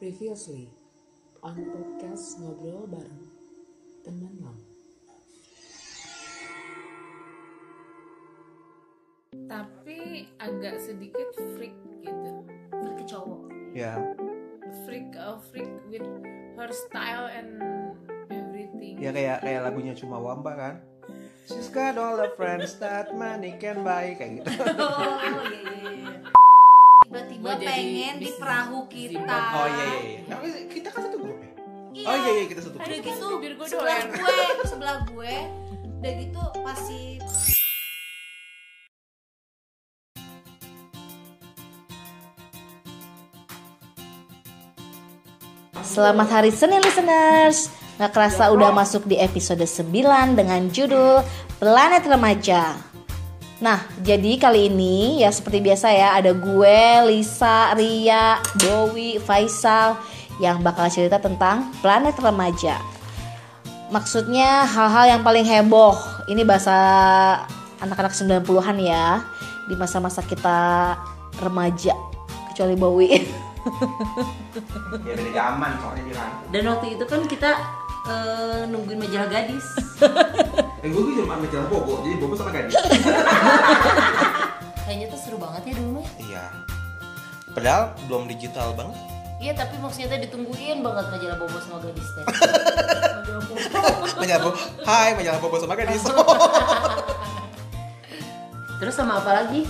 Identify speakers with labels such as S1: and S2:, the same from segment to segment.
S1: Previously on podcast ngobrol bareng teman lang.
S2: tapi agak sedikit freak gitu
S3: ke cowok
S4: ya
S2: freak uh, freak with her style and everything
S4: ya kayak kayak lagunya cuma Wamba kan She's got all the friends that money can buy kayak gitu
S3: oh iya iya iya tiba-tiba
S2: Gua jadi
S3: pengen di
S2: bisnis-
S3: perahu
S2: bisnis
S3: kita
S4: oh iya iya iya Nah, kita kan satu grup ya oh iya iya kita satu
S3: udah
S4: grup
S3: gitu
S2: bibir gua
S3: sebelah
S2: doer.
S3: gue sebelah gue udah gitu pasti
S5: Selamat hari Senin listeners Nggak kerasa udah masuk di episode 9 dengan judul Planet Remaja Nah, jadi kali ini ya seperti biasa ya Ada gue, Lisa, Ria, Bowie, Faisal Yang bakal cerita tentang Planet Remaja Maksudnya hal-hal yang paling heboh Ini bahasa anak-anak 90-an ya Di masa-masa kita remaja Kecuali Bowie
S4: ya beda zaman soalnya dia kan
S6: Dan waktu itu kan kita eh, nungguin majalah gadis.
S4: eh gue cuma ambil jalan bobo jadi bobo sama gadis
S6: Kayaknya tuh seru banget ya dulu ya.
S4: iya padahal belum digital banget
S6: Iya tapi maksudnya tuh ditungguin banget majalah bobo sama gadis teh.
S4: majalah bobo hai majalah bobo sama gadis
S6: Terus sama apa lagi?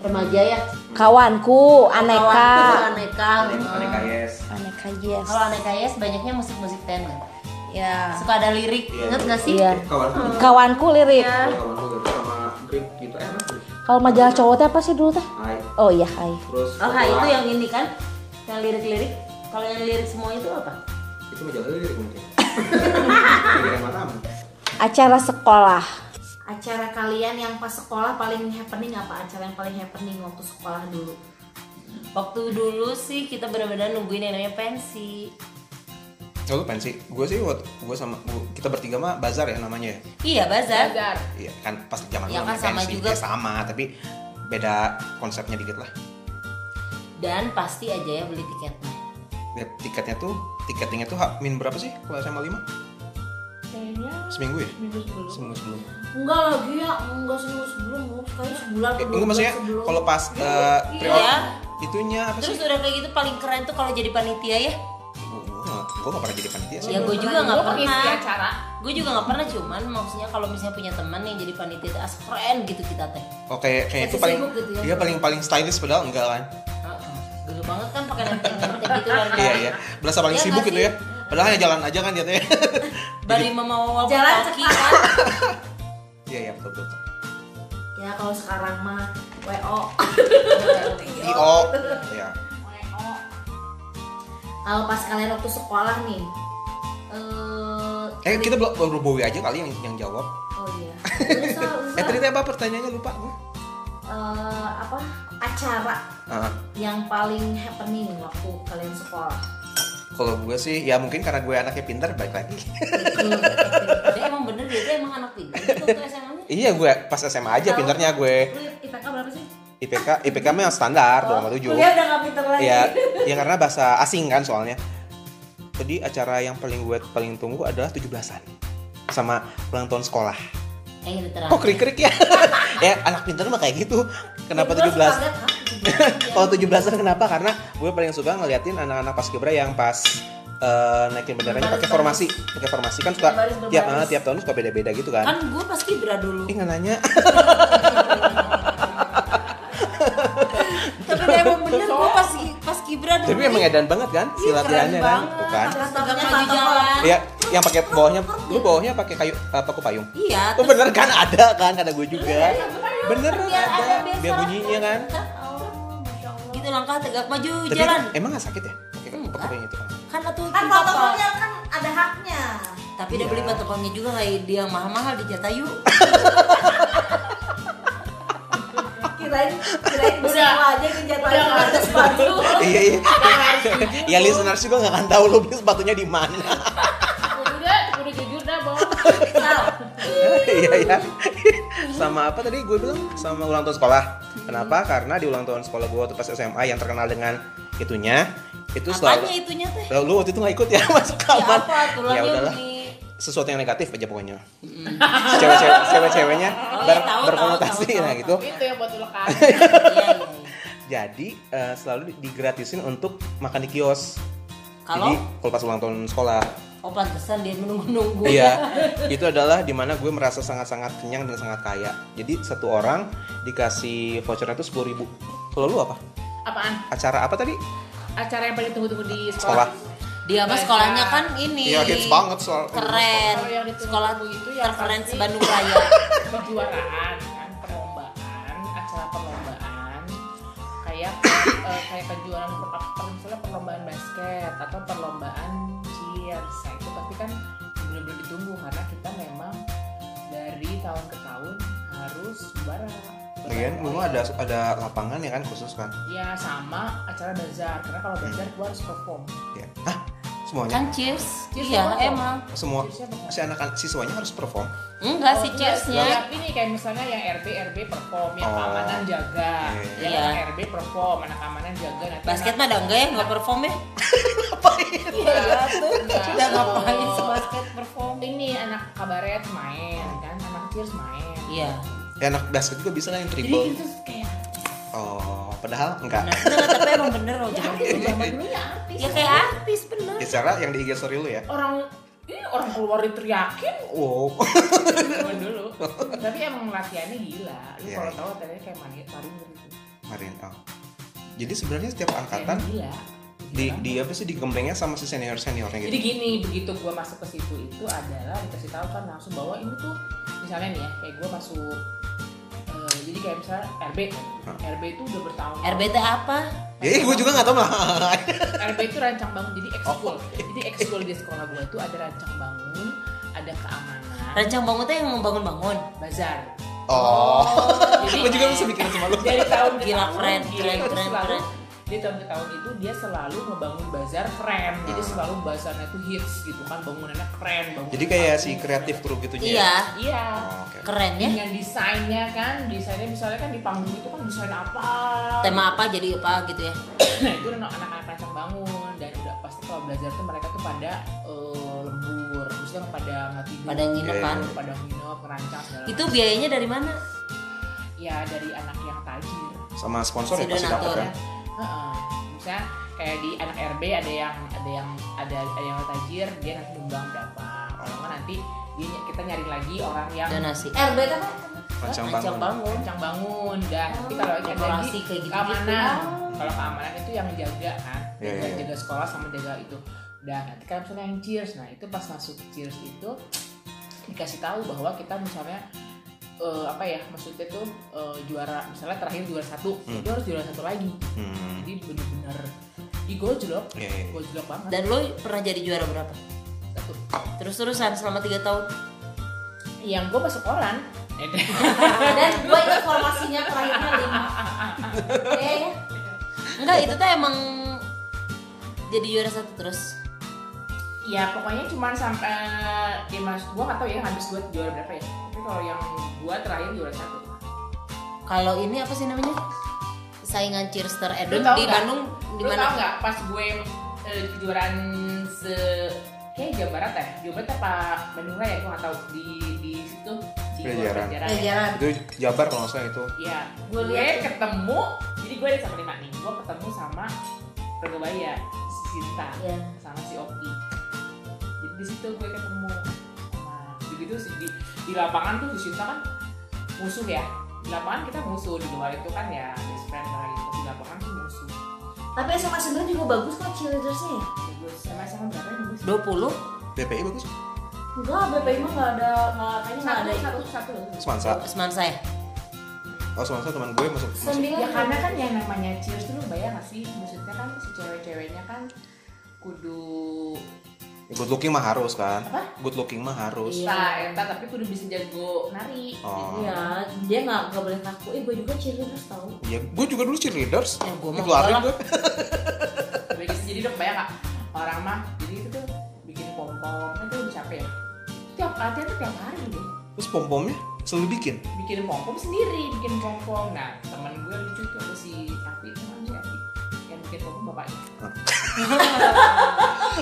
S6: Remaja ya.
S5: Kawanku,
S6: Kawan tuh
S5: aneka
S6: aneka. Hmm. ya.
S4: aneka yes
S5: Aneka yes.
S6: Kalau aneka yes banyaknya musik-musik tenar.
S5: Ya.
S6: Suka ada lirik,
S4: Iya,
S6: inget gak sih?
S5: Iya.
S4: kawan gue
S5: Kawanku lirik.
S6: Iya.
S4: kawan gue sama Grip gitu eh apa?
S5: Kalau majalah cowok teh apa sih dulu teh?
S4: hai
S5: Oh iya, hai.
S4: terus
S6: Oh, hai, itu
S4: Kotoa.
S6: yang ini kan? Yang lirik-lirik. Kalau yang lirik semua itu apa?
S4: itu majalah lirik mungkin Lirik matamu
S5: Acara sekolah.
S3: acara kalian yang pas sekolah paling happening apa acara yang paling happening waktu sekolah dulu
S6: Waktu dulu sih kita benar-benar nungguin yang namanya pensi.
S4: Oh, lu pensi. Gue sih waktu gue sama gua- kita bertiga mah bazar ya namanya ya.
S6: Iya, bazar.
S2: Bazar.
S4: Iya kan pas zaman dulu
S6: Ya kan,
S4: namanya
S6: sama
S4: pensi.
S6: juga.
S4: Ya, sama, tapi beda konsepnya dikit lah.
S6: Dan pasti aja ya beli tiketnya.
S4: Ya, tiketnya tuh tiketnya tuh ha- min berapa sih kalau SMA 5?
S3: kayaknya
S4: Seminggu ya?
S3: minggu sebelum
S4: Seminggu sebelum.
S3: enggak lagi ya enggak seminggu sebelum sekali sebulan
S4: Eh,
S3: atau dua
S4: enggak
S3: bulan
S4: maksudnya
S3: sebelum.
S4: kalau pas eh, pre
S6: Iya.
S4: itunya apa sih?
S6: Terus udah kayak gitu paling keren tuh kalau jadi panitia ya.
S4: Gue gak pernah jadi panitia sih.
S6: Ya gue juga nggak
S2: Gua pengisi
S6: pernah.
S2: acara
S6: Gue juga nggak pernah cuman maksudnya kalau misalnya punya teman yang jadi panitia tuh as keren gitu kita teh.
S4: Oh kayak kayak itu
S3: Masih
S4: paling
S3: sibuk gitu ya.
S4: dia paling paling stylish padahal enggak kan.
S6: Heeh. Gede banget kan pakai nenteng nenteng gitu kan.
S4: Iya iya. Berasa paling
S6: Iya
S4: sibuk
S6: nggak
S4: gitu
S6: sih?
S4: ya. Padahal hanya jalan aja kan dia tuh ya.
S6: Bari mau
S3: Jalan
S6: kan.
S4: Iya iya betul betul.
S3: ya kalau sekarang mah wo
S6: kan.
S4: IO. Iya.
S3: kalau pas kalian waktu sekolah nih eh
S4: Eh kita belum baru Bowie aja kali yang yang jawab.
S3: oh iya Terus,
S4: Eh tadi apa pertanyaannya lupa gue.
S3: eh, apa acara
S4: Ah,
S3: yang paling happening waktu kalian sekolah
S4: kalau gue sih ya mungkin karena gue anaknya pintar balik lagi.
S6: Dia emang bener ya, dia tuh emang anak pintar gitu waktu SMA -nya.
S4: iya gue pas SMA aja pintarnya gue.
S3: Lu IPK berapa sih?
S4: IPK IPK mah yang standar dua koma
S3: Oh,
S4: tujuh.
S3: Kuliah udah gak pinter lagi
S4: Ya ya karena bahasa asing kan soalnya. Jadi acara yang paling gue paling tunggu adalah 17-an sama ulang tahun sekolah.
S6: Eh literan.
S4: Kok krik-krik ya? ya anak pintar mah kayak gitu. Kenapa Oh,
S3: Gua
S4: 17?
S3: suka banget, ah,
S4: Kalau 17-an kenapa? Karena gue paling suka ngeliatin anak-anak paskibra yang pas eh, naikin benderanya pakai formasi, pakai formasi kan suka
S3: Berbaris, berbaris.
S4: tiap eh, tiap tahun suka beda-beda gitu kan.
S6: Kan gue pasti kibra dulu.
S4: Ih nggak nanya.
S6: Tapi dia emang bener gue pas pas kibra dulu.
S4: Tapi emang edan banget kan si latihannya kan,
S6: Iya, banget.
S4: bukan?
S3: Terus
S6: Tetap
S3: tangannya
S6: maju
S3: tatoan.
S6: jalan.
S4: Iya, yang pakai bawahnya, lu bawahnya pakai kayu apa paku payung?
S6: Iya.
S4: Oh bener kan ada kan, ada gue juga. Bener
S6: Biar ada,
S4: ada,
S6: biar
S4: biar bunyinya kan.
S6: Gitu langkah tegak maju
S4: Tapi kan
S6: jalan.
S4: emang nggak sakit ya? Pakai
S6: Enggak.
S4: paku payung itu kan?
S6: Kan atau
S3: Kan protokolnya kan ada haknya
S6: Tapi dia
S4: Iya.
S6: beli patokannya juga kayak dia yang mahal-mahal di Jatayu.
S3: Kirain, kirain bersama aja ke
S2: udah nggak
S3: jatahnya
S2: ada sepatu
S4: Iya iya. Ya listeners juga nggak akan tahu lu beli sepatunya di mana.
S2: Kudu dah, kudu jujur dah bahwa
S3: Nah,
S4: iya iya sama apa tadi gue bilang sama ulang tahun sekolah
S6: Hmm.
S4: Kenapa? Karena di ulang tahun sekolah gue waktu pas SMA yang terkenal dengan itunya itu selalu
S6: Apanya itunya teh?
S4: Lalu lu waktu itu nggak ikut ya masuk
S6: Ya
S4: kamar.
S6: apa tulangnya
S4: udahlah.
S6: di
S4: Sesuatu yang negatif aja pokoknya. Cewek-cewek cewek-ceweknya
S6: Oh,
S4: ber-
S6: iya, tahu,
S4: berkonotasi
S6: tahu, tahu,
S4: nah
S6: tahu,
S4: gitu.
S2: Itu yang buat ulekan.
S6: Iya, iya, iya.
S4: Jadi eh, selalu digratisin untuk makan di kios.
S6: Kalau?
S4: Jadi kalau pas ulang tahun sekolah.
S6: Oh pantesan dia menunggu-nunggu.
S4: Iya. itu adalah dimana gue merasa sangat-sangat kenyang dan sangat kaya. Jadi satu orang dikasih vouchernya itu sepuluh ribu. Kalau lu apa?
S2: Apaan?
S4: Acara apa tadi?
S2: Acara yang paling tunggu-tunggu di sekolah.
S4: Sekolah.
S6: Dia mah sekolahnya kan ini.
S4: Iya, soal
S6: Keren.
S2: Kalau yang ditunggu
S6: Sekolah
S2: itu yang
S6: terkeren
S2: iya, ya, pasti-
S6: se Bandung Raya.
S2: Kejuaraan kan, perlombaan, acara perlombaan. Kayak eh, kayak kejuaraan per- apa, Kan, misalnya perlombaan basket atau perlombaan cheers. Nah, itu pasti kan benar-benar ditunggu karena kita memang dari tahun ke tahun harus juara.
S4: Lagian lu mah ada ada lapangan ya kan khusus kan?
S2: Ya sama acara bazar karena kalau bazar gua harus perform.
S4: Ya. Hah? Semuanya?
S6: Kan cheers.
S2: Cheers
S6: iya,
S2: apa?
S6: emang.
S4: semua
S2: Cheers-nya bukan.
S4: si anak siswanya harus perform.
S6: Enggak
S2: Oh,
S6: sih
S2: enggak,
S6: cheersnya.
S2: setiap ini kayak misalnya yang RB RB perform, yang
S4: Oh.
S2: keamanan jaga,
S4: Iya.
S2: yang
S6: Iya.
S2: anak RB perform, anak keamanan jaga. Nanti
S6: Basket mah
S2: anak-
S6: ada enggak ya enggak perform ya?
S2: Iya, tuh.
S6: Udah ngapain sih Oh, basket perform?
S2: Ini anak kabaret main kan, anak cheers main.
S6: Iya.
S4: Ya, anak basket juga bisa lah yang
S2: Jadi gitu.
S4: triple.
S2: itu kayak
S4: Oh, padahal enggak.
S6: Nah, enggak, tapi emang bener loh jangan
S2: zaman dulu ya artis.
S6: Ya kayak Iya, artis bener.
S4: Ya, secara yang di IG story lu ya.
S2: orang ini orang keluar diteriakin
S4: Wow.
S2: zaman dulu. Tapi emang latihannya gila. Lu
S4: Iya,
S2: kalau
S4: iya.
S2: tahu latihannya kayak mani taring gitu.
S4: Kemarin oh. Jadi sebenarnya setiap
S2: Kayak
S4: angkatan
S2: gila.
S4: di di apa sih digemblengnya sama si senior
S2: Jadi
S4: seniornya gitu.
S2: gini, begitu gue masuk ke situ itu adalah dikasih tahu kan langsung bahwa ini tuh misalnya nih ya, kayak gue masuk eh, jadi kayak misalnya RB,
S4: Hah.
S2: RB itu udah bertahun.
S6: RBT apa?
S4: Ya, gue juga nggak tahu lah.
S2: RB itu rancang bangun, jadi
S4: Oh,
S2: ekskul. Jadi ekskul di sekolah gue itu ada rancang bangun, ada keamanan,
S6: Rancang bangun teh yang membangun-bangun.
S2: bazar.
S4: Oh.
S2: Jadi-
S4: gue juga bisa bikin sama lu.
S2: Dari tahun ke
S6: Gila,
S2: tahun,
S6: keren,
S2: dia
S6: keren,
S2: itu
S6: keren,
S2: selalu-
S6: keren.
S2: Di tahun ke tahun itu dia selalu ngebangun bazar keren,
S4: Ah.
S2: jadi selalu bazarnya tuh hits gitu kan, bangunannya keren, bangunan
S4: Jadi kayak si
S2: bagus.
S4: kreatif crew gitu ya.
S6: Iya,
S2: Iya.
S4: Oh, oke.
S6: keren ya.
S2: dengan desainnya kan desainnya misalnya kan di panggung itu kan desain apa
S6: Tema apa jadi apa gitu ya.
S2: nah itu anak- anak-anak rancang bangun dan udah pasti kalau belajar tuh mereka tuh pada eh, lembur maksudnya pada nggak tidur
S6: Pada nginep
S4: Iya,
S6: kan.
S4: iya.
S2: pada nginep ngerancang segala
S6: Itu biayanya dari mana?
S2: macam. ya dari anak yang tajir
S4: Sama sponsor ya
S6: Si
S4: pasti
S6: donatur.
S4: dapat kan.
S2: Heeh. misalnya kayak di anak RB ada yang ada yang ada ada yang tajir dia nanti nyumbang berapa kalau nggak nanti dia- kita nyari lagi orang yang
S6: Donasi. Eh,
S3: RBT apa?
S4: Rancang
S6: Rancang
S4: bangun.
S6: bangun.
S2: rancang bangun dah nanti kalau ada
S6: Dekorasi
S2: lagi
S6: kayak gitu-gitu.
S2: keamanan kalau keamanan itu yang jaga kan
S4: Iya,
S2: Yang
S4: iya, iya.
S2: jaga sekolah sama jaga itu dan nanti kalau misalnya yang cheers nah itu pas masuk cheers itu dikasih tahu bahwa kita misalnya eh, apa ya maksudnya tuh eh, juara misalnya terakhir juara satu
S4: Hmm.
S2: itu harus juara satu lagi
S4: Hmm.
S2: jadi bener-bener di gojlok
S4: Iya, iya.
S2: gojlok banget
S6: Dan lo pernah jadi juara berapa?
S2: satu
S6: Terus-terusan selama 3 tahun.
S2: yang gue masuk koran
S3: Dan gue informasinya terakhirnya lima. Iya ya.
S6: Enggak, itu tuh emang jadi juara satu terus.
S2: Ya pokoknya cuma sampai ya mas gue nggak tahu ya habis gue juara berapa ya. Tapi kalau yang gue terakhir juara satu.
S6: Kalau ini apa sih namanya? Saingan Cheerster
S2: Lu
S6: Edun
S2: tahu
S6: di
S2: nggak?
S6: Bandung di
S2: Lu tau
S6: mana?
S2: nggak pas gue eh, kejuaraan se kayak Jawa Barat ya, Jawa Barat apa Bandung Raya gue nggak tahu di di situ di
S4: Pelajaran.
S3: Udah jalan.
S4: Itu Jabar kalau nggak salah itu.
S2: Ya, gue
S3: Gua liat tuh.
S2: ketemu, jadi gue ada sama lima nih. Gue ketemu sama Regobaya, si Sinta,
S3: Iya.
S2: sama si Oki. Jadi di situ gue ketemu. Nah, begitu sih di, di lapangan tuh di Sinta kan musuh ya. Di lapangan kita musuh di luar itu kan ya best friend lah gitu. Di lapangan tuh musuh.
S3: Tapi SMA sebenernya juga bagus kok cheerleadersnya ya.
S2: Gue sama sama berapa nih?
S6: 20
S4: BPI bagus.
S3: Enggak, BPI mah nggak ada, nggak kayaknya nggak ada.
S2: Satu,
S3: itu.
S2: satu, satu.
S4: Semansa.
S6: Seman saya.
S4: Oh, Semansa teman gue masuk. masuk.
S3: Sembilan.
S2: Ya karena kan yang namanya cheers tuh lu bayang gak sih? Maksudnya kan si cewek-ceweknya kan kudu
S4: Good looking mah harus kan?
S2: Apa?
S4: Good looking mah harus.
S2: Bisa, eta tapi kudu bisa jago nari.
S4: Oh.
S3: Iya, dia nggak nggak boleh ngaku. Eh, gue juga cheerleaders tau.
S4: Ya, gue juga dulu cheerleaders.
S6: Iya. Ya, gua mah
S4: Dikeluarin
S6: enggak
S4: gue.
S2: Jadi jadi dok banyak kak orang Kan mah jadi itu tuh bikin pom pom itu udah capek ya. ah, Tiap latihan tuh tiap hari deh.
S4: Terus pom-pomnya selalu bikin.
S2: bikin pom sendiri bikin pom nah teman gue lucu tuh ada si Api teman si Api yang bikin pom bapaknya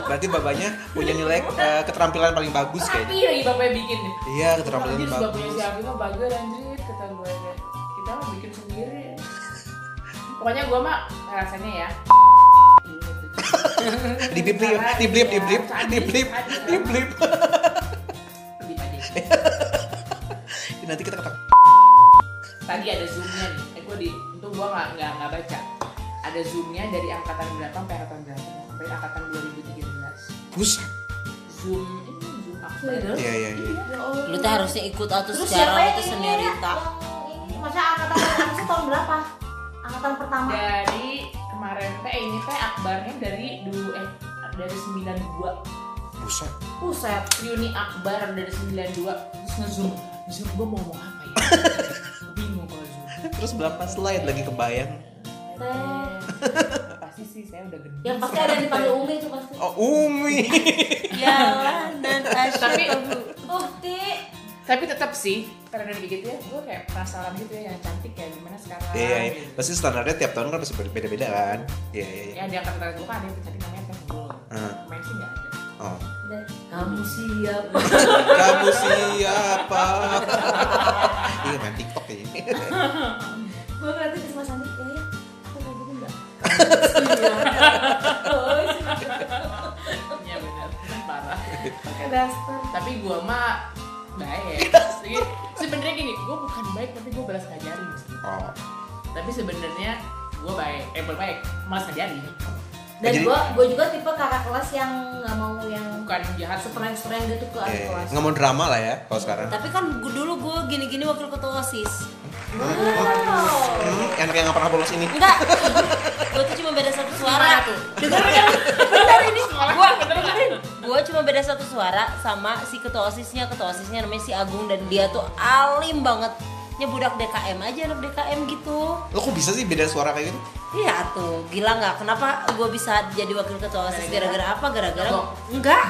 S4: Berarti bapaknya punya nilai eh, keterampilan paling bagus
S2: Api
S4: kayaknya.
S2: lagi bapaknya bikin deh
S4: Iya, keterampilan
S2: Anjir, bapaknya
S4: bagus.
S2: si Api mah bagus anjir kata gue deh kita mah bikin sendiri pokoknya gue mah rasanya ya
S4: Diblip, diblip, diblip, diblip, diblip.
S2: Diblip aja.
S4: Nanti kita ketemu.
S2: tadi ada zoomnya nih eh gue di itu gue nggak nggak nggak baca ada zoomnya dari angkatan berapa sampai angkatan berapa sampai angkatan 2013
S4: Bus.
S2: zoom ini zoom apa ya?
S4: Iya, iya, iya.
S6: Lu tuh harusnya ikut atau
S3: Terus
S6: secara
S3: siapa yang
S6: itu
S3: ini
S6: sendiri
S3: ya? Yang ini, Maksudnya angkatan pertama itu tahun berapa? Angkatan pertama.
S2: dari kemarin teh eh, ini teh akbarnya dari dulu eh dari 92
S4: Buset.
S3: Buset.
S2: Yuni akbar dari 92 terus ngezoom zoom gue mau ngomong apa ya bingung kalau zoom
S3: Eh.
S4: Terus berapa slide lagi kebayang?
S3: Teh.
S2: pasti sih saya udah gede
S3: Yang pasti ada yang dipanggil Umi itu pasti.
S4: Oh, Umi.
S6: Jalan dan
S2: tapi
S3: Tuh, Ti.
S2: tapi tetap sih karena udah begitu ya gue kayak penasaran gitu ya yang cantik ya gimana sekarang
S4: Iya, iya.
S2: gitu.
S4: Pasti standarnya tiap tahun kan pasti beda-beda kan? Iya, iya, iya.
S2: Ya di angkatan gue kan ada yang tadi namanya Teh Gul.
S4: Hmm.
S2: Main sih nggak ada.
S4: Oh.
S6: Kamu siap
S4: Kamu siapa? Iya, main TikTok kayaknya.
S3: Gue ngeliatin ke Mas Andi. Eh, aku kayak gitu enggak?
S2: Iya benar. Parah.
S3: Daster.
S2: Tapi gue mah baik. Jadi, Iya, Sebenarnya gini, gue bukan baik tapi gue balas ngajarin.
S4: Oh.
S2: Tapi sebenarnya gue baik, eh bukan baik, malas ngajarin.
S3: Dan
S4: Jadi-
S3: gue gue juga tipe kakak kelas yang nggak mau yang
S2: Bukan jahat seperti
S3: sepren-sepren gitu ke
S4: Iya,
S3: adik
S4: iya.
S3: kelas.
S4: Nggak mau drama lah ya kalau sekarang.
S6: Tapi kan gua- dulu gue gini-gini wakil ketua OSIS
S4: Nah,
S3: Wow.
S4: Hmm, enak yang nggak pernah bolos ini.
S6: Enggak Gue tuh cuma beda satu suara
S2: tuh?
S6: Dengerin Bentar ini
S2: Sekolah
S6: Gue
S2: bener nggak?
S6: dengerin Gue cuma beda satu suara sama si ketua OSISnya Ketua OSISnya namanya si Agung Dan dia tuh alim banget Ya budak DKM aja anak DKM gitu
S4: Lo kok bisa sih beda suara kayak gitu?
S6: Iya tuh, gila nggak? Kenapa gue bisa jadi wakil ketua OSIS gara-gara apa? Gara-gara
S2: Mabok.
S6: enggak.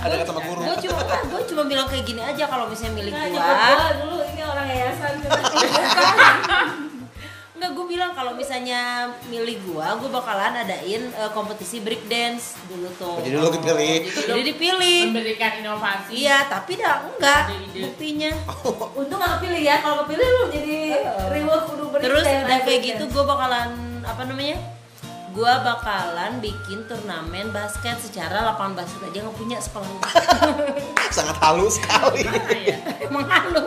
S4: Ada kata sama guru.
S6: Gue cuma gue cuma bilang kayak gini aja kalau misalnya milik
S3: Nah,
S6: gue.
S3: nyokap gue dulu ini orang yayasan. gitu.
S6: Enggak, gue bilang kalau misalnya milih gue, gue bakalan adain eh, kompetisi break dance dulu tuh.
S4: Jadi lo kepilih.
S6: Jadi dipilih.
S2: memberikan inovasi.
S6: Iya, tapi dah enggak
S2: Ide-ide.
S6: buktinya.
S3: Untung gak kepilih ya, kalau kepilih lu jadi reward kudu beri
S6: Terus
S3: teh,
S6: udah
S3: nah,
S6: kayak
S3: gitu.
S6: gitu gue bakalan apa namanya? Gue bakalan bikin turnamen basket secara lapangan basket aja nggak punya sekolah gue.
S4: Sangat halus sekali.
S2: Nah, ya.
S6: emang halu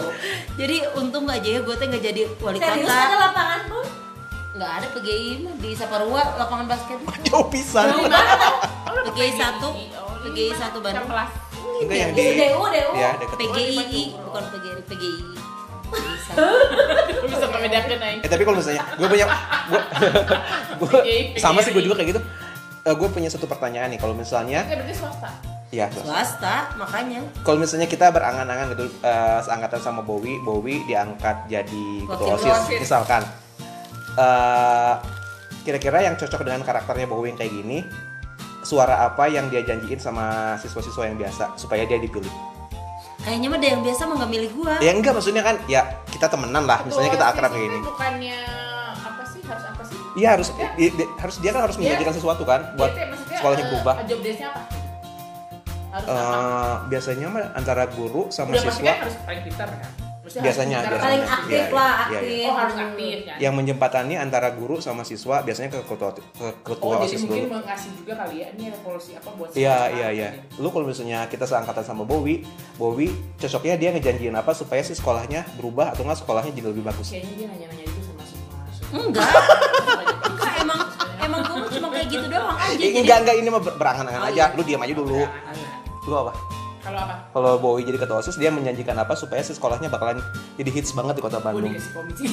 S6: jadi untung aja ya gue teh nggak jadi wali
S3: Serius ada
S2: ya
S6: kota
S3: lapangan pun?
S6: nggak ada PGI mah di Saparua lapangan basket
S4: Jauh pisan.
S6: PGI satu
S2: Oh, ini
S6: PGI
S2: mah
S6: satu
S2: yang
S6: Bandung
S2: kelas.
S4: Enggak yang
S3: Itu
S4: Iya, di.
S3: DU, DU.
S4: Ya, deket.
S6: PGI bukan PGI PGI
S2: Lu bisa membedakan aja.
S4: Eh tapi kalau misalnya gue punya gue sama sih gue juga kayak gitu. gue punya satu pertanyaan nih kalau misalnya
S2: Oke, berarti swasta.
S4: ya
S6: swasta makanya
S4: kalau misalnya kita berangan-angan gitu eh, seangkatan sama Bowie Bowie diangkat jadi ketua
S6: Wakil
S4: osis
S2: Osis.
S4: misalkan Eh, kira-kira yang cocok dengan karakternya Bowie yang kayak gini suara apa yang dia janjiin sama siswa-siswa yang biasa supaya dia dipilih
S6: kayaknya mah ada yang biasa mah nggak milih gue
S4: ya enggak maksudnya kan ya kita temenan lah misalnya kita akrab kayak gini
S2: ini. Bukannya apa sih harus apa sih?
S4: Iya harus i- i- harus dia kan harus
S2: Iya.
S4: menjanjikan sesuatu kan buat
S2: Jadi, maksudnya,
S4: sekolahnya
S2: eh,
S4: berubah.
S2: Job desk-nya apa? Harus apa?
S4: Eh, biasanya mah antara guru sama
S2: Udah pasti kan
S4: siswa
S2: harus paling pintar kan? Maksudnya
S4: Biasanya, Iya,
S2: harus pintar.
S4: biasanya.
S3: Paling aktif
S4: Iya, iya,
S3: lah,
S4: iya,
S3: aktif.
S2: Oh harus aktif kan?
S4: yang menjembatani antara guru sama siswa biasanya ke ketua ke ketua
S2: Oh, jadi
S4: osis
S2: mungkin
S4: dulu.
S2: mau ngasih juga kali ya, ini ada policy apa buat
S4: Iya
S2: sekolah
S4: iya
S2: gitu.
S4: iya. Lu kalau misalnya kita seangkatan sama Bowie, Bowie cocoknya dia ngejanjiin apa supaya si sekolahnya berubah atau nggak sekolahnya jadi lebih bagus.
S2: Kayaknya dia nanya-nanya itu sama semua.
S3: Hmm.
S6: enggak enggak emang emang gue cuma kayak gitu doang aja
S4: Eh,
S6: jadi
S4: enggak enggak ini mah ber- berangan-angan
S6: Oh,
S4: aja.
S6: iya.
S4: Lu diam aja dulu. Lu apa?
S2: Nah, Kalau apa?
S4: Kalau Bowie jadi ketua osis dia menjanjikan apa supaya si sekolahnya bakalan jadi hits banget di kota
S2: Gue
S4: Bandung.
S2: dikasih komisi.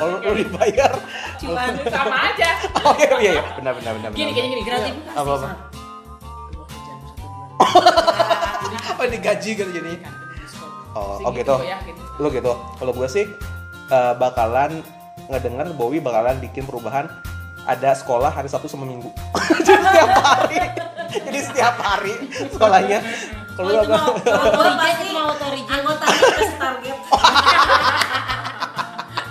S4: Kalau lu dibayar.
S6: cuma
S2: sama aja.
S4: Oh iya iya iya. benar benar benar.
S2: Gini
S4: benar.
S2: gini gini.
S6: gratifikasi
S4: Apa apa?
S2: Gua kerjaan satu bulan.
S4: Apa digaji kan jadi?
S2: Kan, ada diskon.
S4: Oh,
S2: Segitu
S4: oh gitu.
S2: gua yakin.
S4: Lu gitu. Kalau gue sih eh, bakalan ngedenger Bowie bakalan bikin perubahan ada sekolah hari Sabtu sama Minggu. Jadi setiap hari. Jadi setiap hari sekolahnya Lu
S6: Oh, itu
S4: apa?
S6: mau, mau
S3: Gua
S6: pasti
S3: pasti-
S6: mau torigen.
S3: Anggotanya kasih target.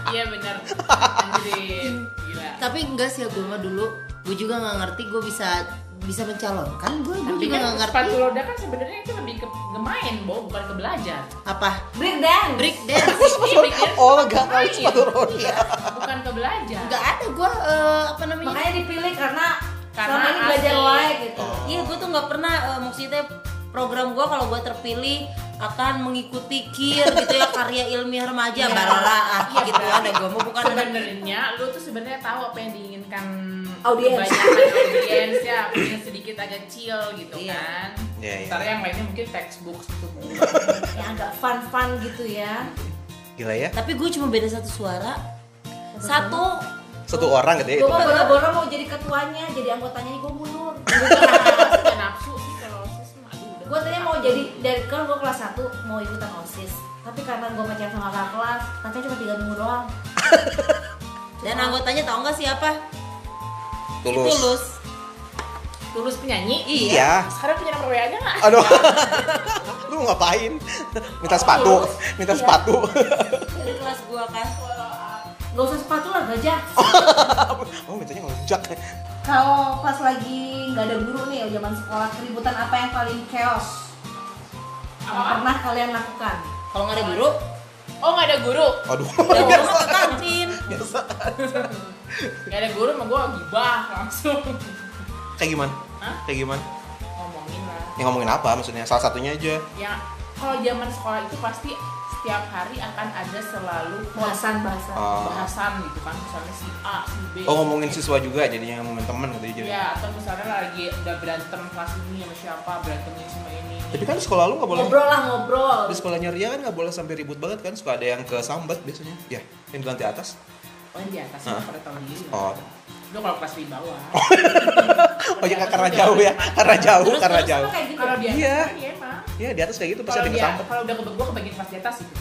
S2: Iya benar. Anjir. Gila.
S6: Tapi enggak sih gue mah dulu, gue juga nggak ngerti gue bisa bisa mencalonkan gue gue
S2: Tapi
S6: juga
S2: kan
S6: nggak ngerti
S2: sepatu roda kan sebenarnya itu lebih ke, ke main, Bo, bukan ke belajar.
S6: apa
S3: Break dance.
S6: break dance
S2: Iya, bikin
S4: Oh, enggak tahu
S2: main, Iya,
S4: sepatu roda.
S2: Bukan ke belajar.
S6: nggak ada gue apa namanya
S3: Makanya dipilih karena,
S2: Karena
S3: selama ini belajar
S2: asik.
S3: live gitu.
S4: Oh.
S6: Iya, gue tuh nggak pernah eh, maksudnya program gue kalau gue terpilih akan mengikuti kir gitu ya karya ilmiah remaja barara ah, gitu ada gue mau bukan anak-
S2: sebenarnya lu tuh sebenarnya tahu apa yang diinginkan
S3: Audiens.
S2: kebanyakan audiens ya punya sedikit agak chill gitu
S6: Iya.
S2: kan
S4: Iya, iya.
S2: Sementara yang lainnya mungkin textbook gitu
S3: Yang agak fun-fun gitu ya.
S4: Gila ya.
S6: tapi gue cuma beda satu suara satu
S4: Satu orang gitu ya
S3: Gue
S4: itu.
S3: mah bono-bono mau jadi ketuanya, jadi anggotanya gue mundur.
S2: Suka nafsu sih kalau osis mah aduh udah.
S3: gue tadinya mau jadi dari kan gue kelas 1 mau ikutan osis. Tapi karena gue pacaran sama kakak kelas, katanya cuma 3 minggu doang.
S6: dan anggotanya tau nggak siapa
S4: Tulus.
S6: tulus
S2: tulus penyanyi
S4: Iya.
S2: sekarang punya nomor WA nya nggak
S4: Aduh. Lu ngapain? Minta sepatu, minta sepatu.
S6: di kelas gue kan
S3: Gak usah sepatu lah gajah.
S4: Oh, mintanya ngelunjak.
S3: Kalau pas lagi nggak ada guru nih zaman sekolah keributan apa yang paling chaos yang pernah kalian lakukan?
S6: kalau nggak ada guru
S2: oh nggak ada guru
S4: Aduh.
S6: ya gue mau ke kantin
S2: nggak ada guru mah gue gibah langsung
S4: Kayak gimana?
S2: Hah?
S4: Kayak gimana?
S2: ngomongin lah
S4: Ya ngomongin apa maksudnya? Salah satunya aja.
S2: ya kalau zaman sekolah itu pasti setiap hari akan ada selalu
S3: Bahasan bahasan.
S4: Oh.
S2: bahasan gitu kan misalnya si A si B
S4: Oh, ngomongin siswa juga jadinya ngomongin teman gitu ya jadinya.
S2: Ya, atau misalnya lagi udah berantem kelas ini sama siapa, berantemnya sama ini.
S4: Tapi kan sekolah lu nggak boleh
S3: Ngobrol lah ngobrol.
S4: di sekolahnya Ria kan nggak boleh sampai ribut banget kan suka ada yang ke sambat biasanya ya yang di lantai atas
S2: Oh, di atas
S4: Hah?
S2: pada tahun diri.
S4: oh
S2: Lu kalau kelas di bawah.
S4: oh ya
S2: Iya.
S4: karena jauh ya karena jauh karena
S3: Terus
S4: jauh
S3: apa kayak gitu.
S2: Kalau di atas
S4: Iya.
S2: kan iya emang.
S4: ya di atas kayak gitu pasti
S2: Kalau
S4: ada yang
S2: dia
S4: kesambet
S2: kalau udah kebeg gua kebagian pas di atas gitu.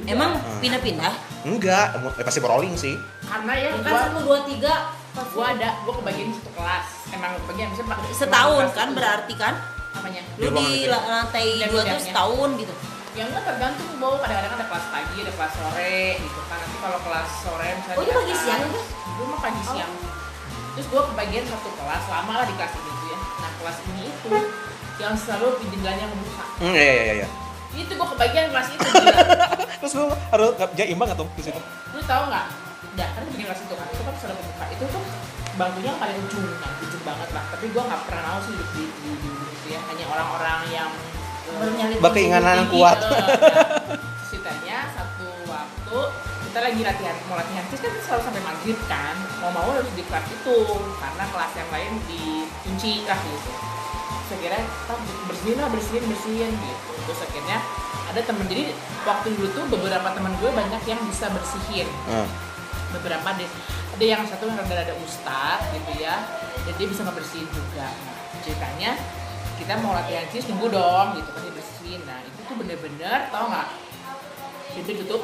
S2: Udah.
S6: emang
S4: Iya. Ah.
S6: pindah-pindah
S4: enggak em- eh, pasti rolling sih
S2: karena ya
S3: Kan
S2: gua
S3: satu dua tiga. pas
S2: gua ada gua kebagian satu kelas. Emang kebagian bisa Pak.
S6: setahun
S2: Kelas gitu,
S6: kan
S2: itu.
S6: berarti kan
S2: Apanya?
S6: lu
S4: Di ruang
S6: di
S4: itu ya?
S6: la- lantai
S2: Dan
S6: dua tuh
S2: pindahnya.
S6: setahun gitu
S2: Ya enggak tergantung bahwa kadang-kadang ada kelas pagi, ada kelas sore gitu kan. Nanti kalau kelas sore misalnya
S3: Oh,
S2: di
S3: ini pagi
S2: atas,
S3: siang itu?
S2: Gue mah pagi siang. Terus gue kebagian satu kelas, lama lah di kelas ini tuh ya. Nah kelas ini itu yang selalu jendelanya kebuka.
S4: hmm, ya ya ya, ya.
S2: Itu gue kebagian kelas itu. gila.
S4: terus lu harus nggak jadi imbang atau di situ
S2: Lu tau nggak? Nah, kan bikin kelas itu kan, itu kan selalu kebuka. Itu tuh bangkunya yang paling ujung kan, ujung banget lah. Tapi gue nggak pernah mau sih duduk di di di ujung itu ya. Hanya orang-orang yang eh,
S3: Baru nyali
S4: Bak- keinginan kuat.
S2: gitu. Ceritanya satu waktu kita lagi latihan, mau latihan terus kan selalu sampai maghrib kan. Mau mau harus di kelas itu karena kelas yang lain dikunci lah gitu. Terus akhirnya kita bersihin lah, bersihin, bersihin gitu. Terus akhirnya ada temen jadi waktu dulu tuh beberapa temen gue banyak yang bisa bersihin
S4: hmm.
S2: beberapa deh ada yang satu yang rada ada ustad gitu ya jadi dia bisa ngebersihin juga nah, ceritanya kita mau latihan cis nunggu dong gitu kan dia bersihin nah itu tuh bener-bener tau nggak pintu tutup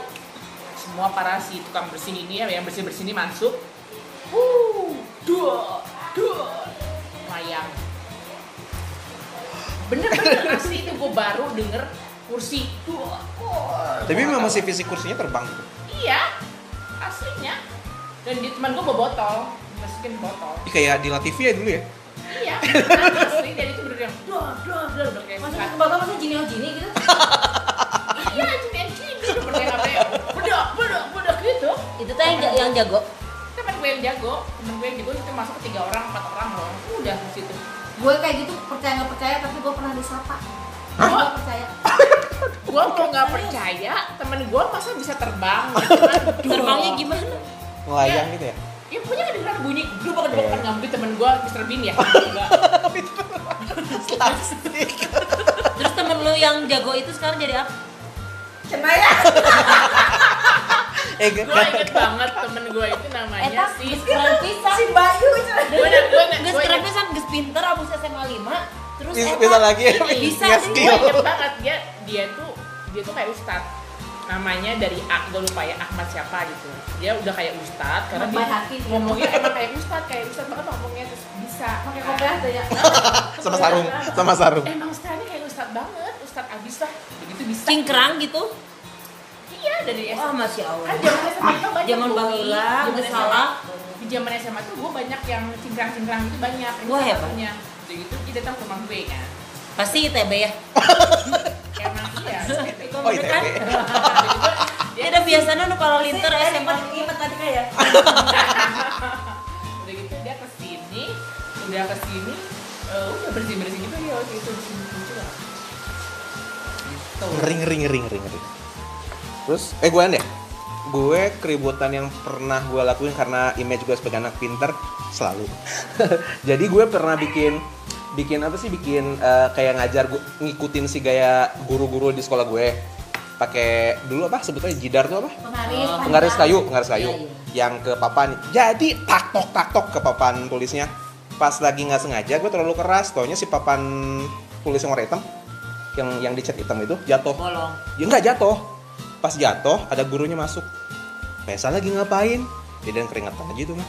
S2: semua para si tukang bersih ini ya yang bersih bersih ini masuk uh dua dua layang bener-bener asli itu gue baru denger kursi dua dua.
S4: tapi memang masih fisik kursinya terbang gitu
S2: Iya, aslinya. Dan di teman gue bawa botol, masukin ke botol.
S4: Ih, kayak di La TV ya dulu ya
S2: Iya, asli dan itu bener yang
S3: Duh, duh, duh.
S2: udah udah kayak
S3: Maksudnya ke bawah maksudnya jini jini gitu.
S2: Iya, cuma yang gini udah pernah kayak bedak, bedak, bedak gitu. Kan
S6: itu tuh yang, yang jago
S2: Temen gue yang jago, temen gue yang jago itu masuk ke tiga orang, empat orang loh. Udah di situ.
S3: Gue kayak gitu percaya nggak percaya tapi gue pernah disapa. Gue percaya.
S2: Gue mau nggak percaya, temen gue masa bisa terbang? gitu kan.
S6: terbangnya gimana
S4: melayang gitu ya
S2: Ya punya kedengeran bunyi, dulu bakal dulu kan ngambil temen gue Mr. Bean ya. Enggak.
S6: terus temen lu yang jago itu sekarang jadi apa
S3: Cenaya.
S4: eh gak,
S2: Gue inget banget temen gue itu namanya
S3: Eta
S2: si
S3: pisah. Si Bayu. cenaya.
S2: Gue nak, gue nak, gue
S6: Gus
S2: inget
S6: terapisan, Gus pinter abis SMA 5 Terus
S4: bisa,
S6: Eta
S4: bisa lagi ya
S6: ini, Bisa
S4: punya
S6: sih.
S2: gue
S4: skill
S2: inget banget dia dia tuh dia tuh kayak ustad namanya dari A gue lupa ya Ahmad siapa gitu dia udah kayak ustad karena
S3: Ahmad
S2: dia
S3: Baihaqi.
S2: ngomongnya emang kayak ustad kayak ustad banget ngomongnya terus bisa
S3: Pakai kopiah tuh ya.
S4: sama sarung sama sarung
S2: emang ustadnya kayak ustad banget abis lah begitu bisa
S6: cingkrang gitu
S2: iya dari SMA
S6: wah masya allah
S2: kan zaman SMA tuh banyak
S6: Zaman
S2: tuh, Bi.
S6: baheula,
S2: Zaman
S6: geus
S2: SMA.
S6: salah.
S2: di zaman SMA tuh gue banyak yang cingkrang-cingkrang itu banyak Ini
S6: Wah, ya,
S2: salah
S6: hebat.
S2: satunya. Udah gitu dia datang ke rumah gue kan
S6: pasti itb ya
S2: karena iya
S4: Oh, ITB.
S6: tidak biasanya nu kalau linter SMA
S3: Ingat
S2: ya,
S3: tadi kayak
S2: udah gitu dia kesini udah kesini eh, udah bersih bersih gitu dia waktu itu bersih bersih juga gitu
S4: ngeri ngeri ngeri ngeri ngeri terus eh gue deh gue keributan yang pernah gue lakuin karena image gue sebagai anak pinter selalu jadi gue pernah bikin bikin apa sih bikin eh, kayak ngajar gu- ngikutin si gaya guru-guru di sekolah gue pakai dulu apa sebetulnya jidar tuh apa
S3: penggaris.
S4: penggaris kayu penggaris kayu
S6: Iya,
S4: yang ke papan jadi tak tok tak tok ke papan tulisnya pas lagi nggak sengaja gue terlalu keras taunya si papan tulis yang warna hitam yang yang dicat hitam itu jatuh
S6: bolong
S4: ya nggak jatuh pas jatuh ada gurunya masuk Pesa lagi ngapain dia dan keringetan aja itu mah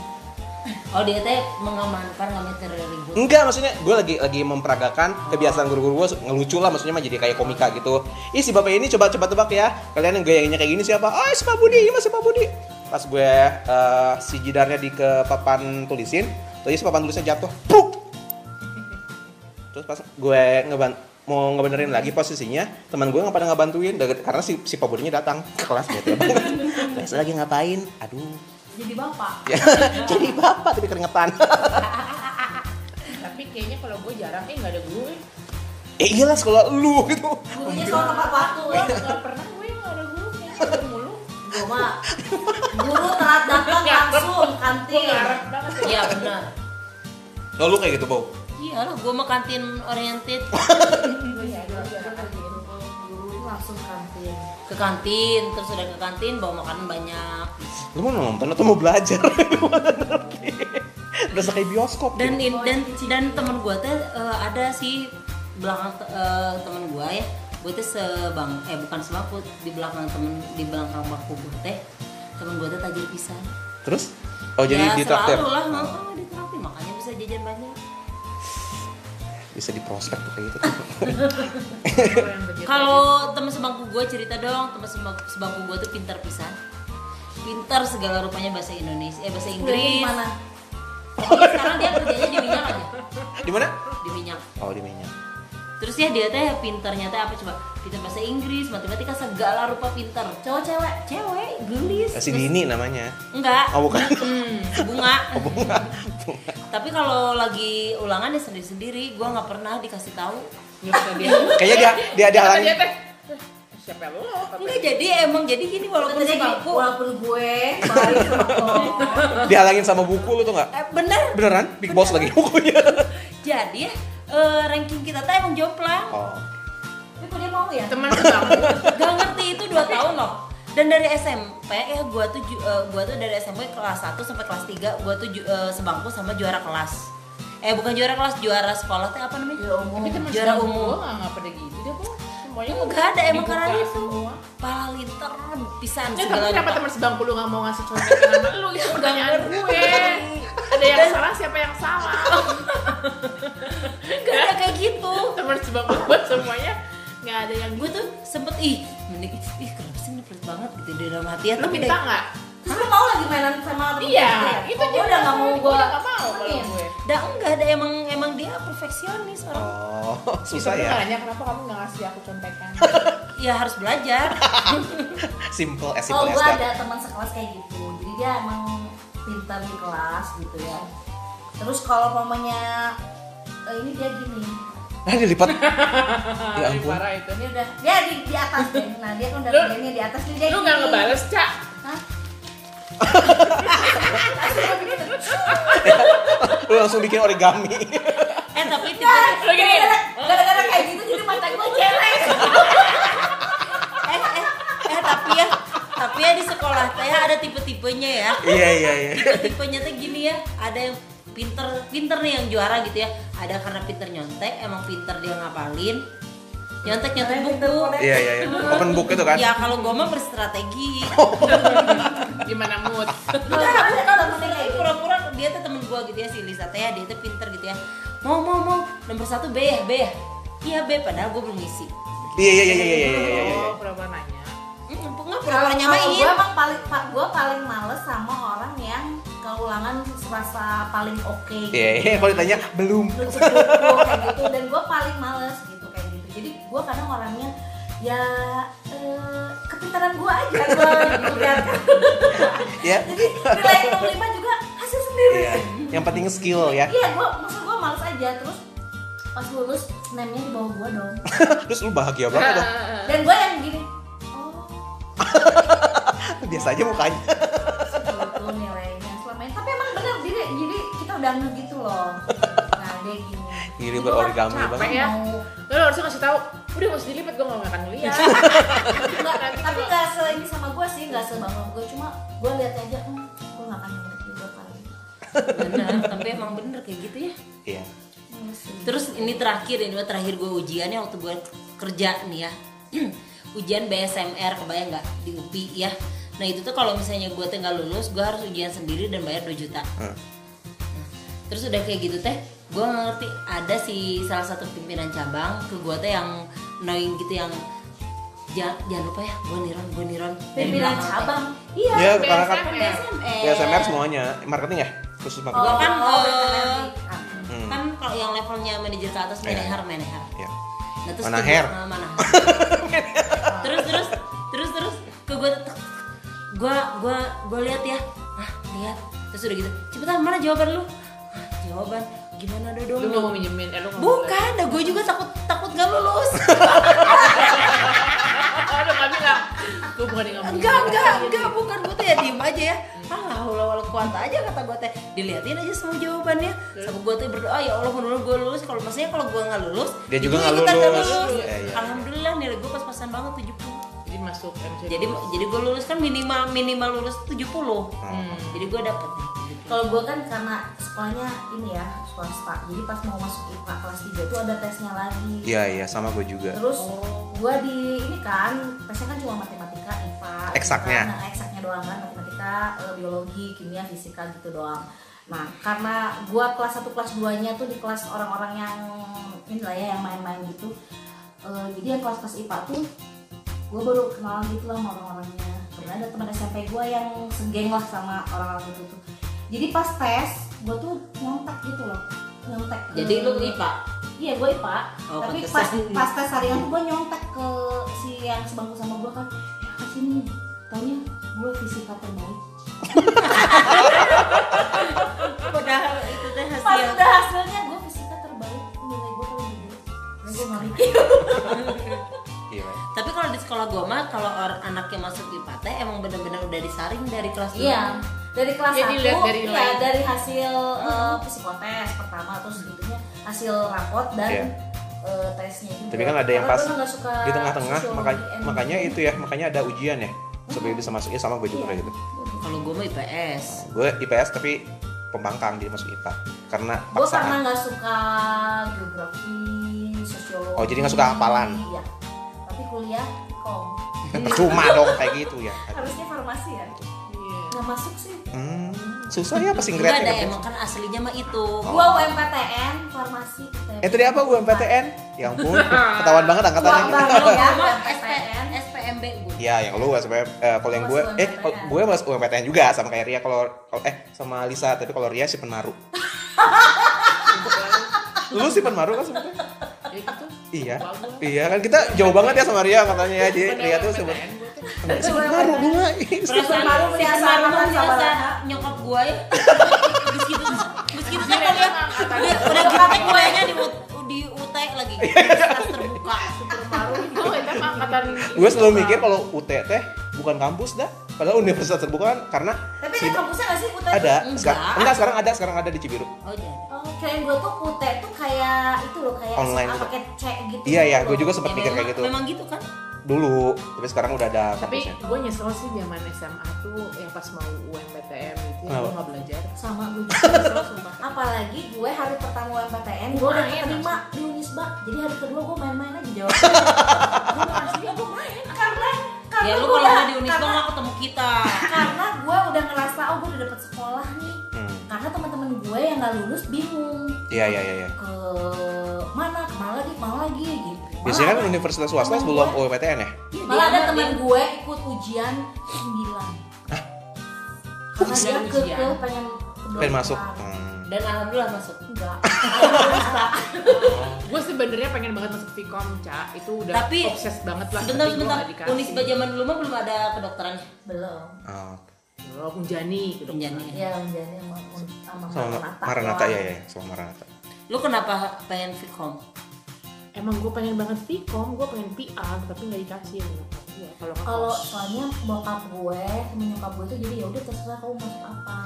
S6: oh dia teh mengamankan kami dari ribut
S4: enggak maksudnya gue lagi lagi memperagakan kebiasaan guru-guru gue ngelucu lah maksudnya mah jadi kayak komika gitu ih si bapak ini coba coba tebak ya kalian yang gayanya kayak gini siapa ah si pak Budi ini mah si pak Budi pas gue eh, si jidarnya di ke papan tulisin tadi si papan tulisnya jatuh Pruk! terus pas gue ngeban mau ngebenerin lagi posisinya teman gue nggak pada ngebantuin Deg- karena si si Pak Budinya datang ke kelas gitu Pesa lagi ngapain aduh
S3: Jadi bapak.
S4: Ya, jadi bapak tapi keringetan
S2: tapi kayaknya kalau gue jarang eh nggak ada guru eh
S4: eh iyalah sekolah lu gitu
S6: gurunya soal tempat waktu
S2: gue nggak pernah gue yang nggak ada gurunya Guru gitu mulu
S6: gue mah guru telat datang langsung
S2: gue
S6: kantin
S2: ngarep banget ya.
S6: iya benar
S4: Lalu kayak gitu, Bo.
S6: iyalah gue mah kantin oriented
S2: gue jarang jarang kantin
S3: Guru langsung kantin.
S6: ke kantin terus udah ke kantin bawa makanan banyak
S4: Lu mau nonton atau mau belajar? Gua nggak ngerti. Berasa kayak bioskop.
S6: dan
S4: gitu.
S6: in- dan dan teman gue teh eh, ada sih belakang te- eh, teman gue ya gue teh sebang eh bukan sebangku di belakang temen di belakang bangku gue teh temen gue teh tajir pisan
S4: terus oh jadi
S6: ya,
S4: ditraktir.
S6: selalu lah heeh, ditraktir makanya bisa jajan banyak
S4: Oh, Bisa diprospek tuh kayak gitu.
S6: Kalau teman sebangku gue cerita dong, teman sebangku, sebangku gue tuh pintar pisan. Pintar segala rupanya bahasa Indonesia, eh bahasa Inggris.
S3: Mana?
S6: Tapi sekarang dia kerjanya di minyak aja,
S4: di mana?
S6: di minyak.
S4: Oh, di minyak.
S6: Terus ya dia teh pintarnya teh apa coba? Pintar bahasa Inggris, matematika segala rupa pintar. Cowok cewek, cewek, gelis.
S4: Eh, Si Dini namanya.
S6: Enggak.
S4: Oh, bukan.
S6: Bunga.
S4: Oh, bunga. Bunga.
S6: Tapi kalau lagi ulangan ya sendiri-sendiri, gue nggak pernah dikasih tahu.
S2: Nggak pernah dia
S4: Kayaknya dia dia dia
S2: Kata
S4: halangi.
S2: dia teh siapa lo Kata
S6: Enggak jadi emang jadi gini walaupun
S3: Katanya gini,
S6: sebangku.
S3: walaupun gue baik sama lo.
S4: Dihalangin sama buku lu tuh nggak?
S6: Eh, bener
S4: Beneran? Big Boss lagi bukunya.
S6: jadi ya eh, ranking kita tuh emang jomplang
S4: Oh.
S3: Tapi kok dia mau ya?
S2: teman sebangku
S6: gak ngerti itu 2 tahun loh dan dari SMP ya gua tuh ju- eh, gua tuh dari SMP kelas 1 sampai kelas 3 gua tuh ju- eh, sebangku sama juara kelas eh bukan juara kelas juara sekolah tuh apa namanya kan
S3: Ya umum.
S2: tapi teman
S6: Juara
S2: sebangku
S6: umum.
S2: gue nggak nggak pernah gitu dia kok semuanya
S6: Nggak ada, emang
S2: dibuka
S6: karena itu.
S2: semua.
S6: pala linter pisan
S2: Ya, tapi kenapa
S6: rupa.
S2: teman sebangku lu nggak mau ngasih contekan sama lu?
S6: Iya,
S2: Itu pertanyaan gue. Ada yang salah, siapa yang salah?
S6: Nggak ada kayak gitu
S2: Teman sebangku gue semuanya nggak ada yang gue.
S6: gue tuh sempet ih mending ih kenapa sih ini pelit banget gitu di dalam hati ya
S2: Lu
S6: tapi
S2: minta
S6: dari,
S2: nggak?
S3: Terus lu mau lagi mainan sama temen
S2: Iya,
S3: gue ya?
S2: itu
S3: Kok gue
S2: juga
S3: udah gak mau
S2: gue
S3: gue
S2: udah nggak mau Iya. kalau gue.
S6: dah enggak ada emang emang dia perfeksionis orang
S4: Oh, susah
S2: Itu
S4: ya.
S2: makanya kenapa kamu nggak ngasih aku contekan?
S6: ya harus belajar
S4: Simple as
S3: Kalau
S4: simple as
S3: gue
S4: that.
S3: ada teman sekelas kayak gitu, jadi dia emang pintar di kelas gitu ya. Terus kalau mamanya eh, ini dia gini,
S4: Ah, dilipat. ya
S2: Lebih
S4: ampun.
S2: Parah itu.
S3: dia udah dia di, di atas deh. Nah dia kan udah
S2: Lu-
S3: kerjanya di atas nih dia.
S2: Lu
S3: gini.
S2: nggak ngebales, Cak?
S3: Hah?
S4: Lu langsung bikin origami.
S6: eh tapi tipe
S3: Nah,
S2: Lu gini.
S3: Gara-gara- Gara-gara kayak gitu jadi mata gue jelek.
S6: eh eh eh tapi ya tapi ya di sekolah saya ada tipe-tipenya ya
S4: Iya, iya, iya.
S6: tipe-tipenya tuh gini ya ada yang pinter pinter nih yang juara gitu ya ada karena pinter nyontek emang pinter dia ngapalin nyontek nyontek
S3: Ada yang pinter
S6: buku
S3: konek.
S4: Iya, iya, iya. Open book itu kan.
S6: ya kalau gue mah berstrategi
S2: Gimana mood?
S3: Udah ada temennya kayak
S6: Tapi
S3: gitu.
S6: pura-pura dia tuh temen gue gitu ya si Lisa teh ya, dia tuh pinter gitu ya mau mau mau nomor satu B ya B ya iya B padahal gue belum ngisi
S4: Iya iya iya iya iya iya iya, iya.
S2: Oh, pernah nanya.
S6: Hmm, enggak
S3: Kalau
S6: pura-pura nyamain.
S3: gue emang paling pa, gue paling males sama orang yang keulangan serasa paling oke. gitu.
S4: Iya iya kalau ditanya belum.
S3: Lu cukup, lu kayak gitu dan gue paling males gitu kayak gitu. Jadi gue kadang orangnya ya eh, kepintaran gue aja gue
S4: Ya.
S3: Jadi nilai 65 juga hasil sendiri.
S4: Iya. Yang penting skill ya.
S3: Iya, gue maksud gue males aja terus pas lulus name-nya di bawah gue dong.
S4: Terus lu bahagia banget dong.
S3: Dan gue yang gini, oh
S4: Biasa aja mukanya.
S3: gitu nilainya selama ini. Tapi emang bener jadi jadi kita udah nge gitu loh. Nah dia gini.
S4: Gini
S3: Itu kan
S4: berorigami
S3: capek
S4: banget.
S2: ya.
S3: mau-
S2: Lo harusnya ngasih tahu. Udah gak usah dilipat, gue gak makan ya." kuliah.
S3: Enggak, tapi nggak se ini sama gue sih nggak sebangga gue cuma gue lihat aja, hmm, gue nggak akan ngerti juga kali.
S6: Benar, tapi emang bener kayak gitu ya.
S4: Iya.
S3: Iya sih.
S6: Terus ini terakhir ini terakhir gue ujiannya waktu gue kerja nih ya. ujian BSMR kebayang nggak di UPI ya. Nah itu tuh kalau misalnya gue tengah lulus gue harus ujian sendiri dan bayar 2 juta.
S4: Hmm.
S6: Nah, Terus udah kayak gitu teh gue ngerti ada si salah satu pimpinan cabang ke gue teh yang knowing gitu yang jangan, jangan lupa ya gue niron gue niron Dari
S3: Pimpinan
S6: belakang, teh.
S3: cabang, iya.
S4: Ya karena kan
S2: BSMR.
S4: ya SMR semuanya marketing ya khusus
S6: Gua
S4: marketing.
S6: kan,
S3: Oh,
S6: eh,
S3: PNLTIK.
S4: Hmm.
S6: kan kalau yang levelnya manajer ke atas
S4: Iya.
S6: manajer manajer
S4: Iya.
S6: Nah, terus
S4: Manaher.
S6: ke gua- nah, manaher. terus terus terus terus ke gue gue gue gue lihat ya ah lihat terus udah gitu cepetan mana jawaban lu ah, jawaban gimana dodong
S2: Lu gak mau minjemin, eh lu nggak mau
S6: bukan dah gue juga takut takut gak lulus
S2: Oh, udah gak bilang. Gue bukan yang ngambil.
S6: enggak enggak enggak bukan gue tuh ya diem aja ya Allah ulah wal kuat aja kata gue teh diliatin aja semua jawabannya sama gue tuh berdoa ya Allah menurut gue lulus kalau maksudnya kalau gue nggak lulus
S4: Dia juga nggak
S6: ikutan nggak
S4: lulus. Iya, iya.
S6: alhamdulillah nilai gue pas-pasan banget 70
S2: Jadi masuk MC.
S6: jadi jadi gue lulus kan minimal minimal lulus 70 jadi gue dapet nih.
S3: Kalau gue kan karena sekolahnya ini ya swasta, jadi pas mau masuk IPA kelas 3 itu ada tesnya lagi.
S4: Iya iya sama gue juga.
S3: Terus gue di ini kan tesnya kan cuma matematika, IPA. gitu
S4: Eksaknya.
S3: kan. Nah, eksaknya doang kan, matematika, eh, biologi, kimia, fisika gitu doang. Nah, karena gue kelas 1 kelas 2-nya tuh di kelas orang-orang yang ini lah ya yang main-main gitu. Eh, jadi yang kelas-kelas IPA tuh gue baru kenalan gitu lah sama orang-orangnya karena ada teman SMP gue yang segeng lah sama orang-orang gitu tuh jadi pas tes gue tuh nyontek gitu loh nyontek ke-
S6: jadi lu IPA
S3: iya gue IPA
S6: Oh,
S3: tapi
S6: pantesan.
S3: pas pas tes harian tuh gue nyontek ke si yang sebangku sama gue kan ya ke sini taunya gue fisika terbaik
S6: udah itu teh
S3: pas
S6: hasil
S3: udah hasilnya gue fisika terbaik nilai gue paling gede Nah, gue ngeri
S4: Iya. Bay.
S6: tapi kalau di sekolah gue mah kalau orang anaknya masuk IPA teh emang bener-bener udah disaring dari kelas dulu.
S3: Iya, dari kelas
S2: Jadi
S3: satu,
S2: lihat dari
S3: iya,
S2: nilai.
S3: dari hasil
S4: Hmm.
S3: eh, psikotes pertama terus sebetulnya hasil rapot dan
S4: Iya.
S3: eh, tesnya juga.
S4: Tapi kan ada yang
S3: Karena
S4: pas
S3: gua nggak suka
S4: di tengah-tengah
S3: sosiologi
S4: makanya
S3: and-
S4: makanya itu ya makanya ada ujian ya supaya bisa masuk ya sama gue juga
S3: Iya.
S4: kayak gitu
S6: kalau gue mah IPS
S4: gue IPS tapi pembangkang jadi masuk IPA karena
S3: Gue karena
S4: paksaan
S3: nggak suka geografi, sosiologi.
S4: Oh, jadi nggak suka hafalan.
S3: Iya. Tapi kuliah kom.
S4: percuma dong kayak gitu ya
S3: Harusnya farmasi ya.
S2: Iya.
S3: Nggak masuk sih.
S4: hmm, susah ya pasti
S6: enggak ada
S4: ngeliatnya
S6: emang kan aslinya mah itu
S3: Gua UMPTN, farmasi. ITB.
S4: Oh. eh tadi apa gue PTN ya ampun ketahuan banget
S3: Tua
S4: angkatannya
S3: banget ya
S6: Sama
S3: UMPTN.
S6: SPN SPMB gue
S4: Ya, yang lu SPM, eh, kalau yang gue,
S3: Masuk
S4: eh,
S3: UMPTN.
S4: kalau gue masuk UMPTN juga sama kayak Ria kalau, kalau- eh, sama Lisa, tapi kalau Ria si penmaru. lu si penmaru kan sebenarnya?
S2: Ya gitu.
S4: Iya,
S2: Lupa gua.
S4: iya kan kita jauh banget ya sama Ria katanya ya, jadi
S2: Padahal
S4: Ria
S2: PTN
S4: tuh sebenarnya
S2: gua tuh.
S4: si penmaru bunga.
S6: perasaan
S3: Baru
S6: si
S3: punya
S6: kemarin
S3: anak
S6: mah
S3: sama
S6: biasa
S3: anak.
S6: nyokap gue ya Terus gitu terus gitu kan
S2: Jadi
S6: kalau
S2: emang angkatan
S6: udah udah gimana gue nya di U- di UT lagi kelas terbuka
S2: Oh, itu mah angkatan.
S4: gue selalu mikir kalau UT teh bukan kampus dah, padahal universitas terbuka kan karena
S3: Tapi
S4: si-
S3: ada kampusnya nggak sih UTB?
S4: ada,
S6: Enggak.
S4: sekarang, enggak sekarang ada, sekarang ada di Cibiru.
S6: oh jadi
S3: Oh, kirain gue tuh kute tuh kayak itu loh kayak
S4: Online
S3: SMA
S4: gitu.
S3: pakai C gitu.
S4: Iya ya, gue
S3: loh.
S4: juga sempat
S6: Ya,
S4: mikir
S6: memang,
S4: kayak gitu
S6: memang gitu kan
S4: dulu, tapi sekarang udah ada
S2: Tapi
S4: kampusnya.
S2: gue nyesel sih zaman SMA tuh yang pas mau UMPTN gitu ya, gue
S4: Kenapa?
S2: gak belajar.
S3: sama gue juga.
S2: Nyesel sumpah.
S3: Apalagi gue hari pertama UMPTN gue udah
S2: Main
S3: keterima di Unisba. Jadi hari kedua gue main-main aja jawab. Asli gue main karena karena
S6: ya lu
S3: gue
S6: kalau
S3: udah
S6: nggak di Unisba
S3: karena,
S6: nggak ketemu kita
S3: karena gue udah ngerasa oh gue udah dapet sekolah nih.
S4: Hmm.
S3: Karena teman-teman gue yang gak lulus bingung
S4: Iya iya iya. iya.
S3: ke mana kemana lagi kemana lagi gitu.
S4: Biasanya kan universitas swasta sebelum UPTN ya?
S3: Iya, Malah ada teman gue ikut ujian 9 Karena dia
S2: Ujian,
S3: ke,
S2: ujian.
S3: ke pengen kedokteran.
S4: Pengen masuk. Hmm.
S6: Dan alhamdulillah masuk.
S3: Enggak.
S2: Gue sebenarnya pengen banget masuk Vkom, Ca. Itu udah
S6: Tapi-
S2: obses banget lah.
S6: Sebentar
S2: tapi gua
S6: sebentar.
S2: nggak dikasih.
S6: Unisba zaman dulu mah belum ada ya? kedokterannya.
S3: Belum.
S4: Oh,
S2: Oh, Unjani. gitu.
S6: Penjani.
S3: Ya menjadi sama sama
S4: sama
S3: Maranatha
S4: Maranatha
S3: doang.
S4: ya ya, sama Maranatha.
S6: Lu kenapa pengen Vkom?
S2: Emang gue pengen banget Vkom, gue pengen PR, tapi nggak dikasih. sama nyokap gua. Kalau nggak
S3: Kalau
S2: kos.
S3: soalnya bokap gue, menyokap gue itu jadi ya udah terserah kamu masuk apa.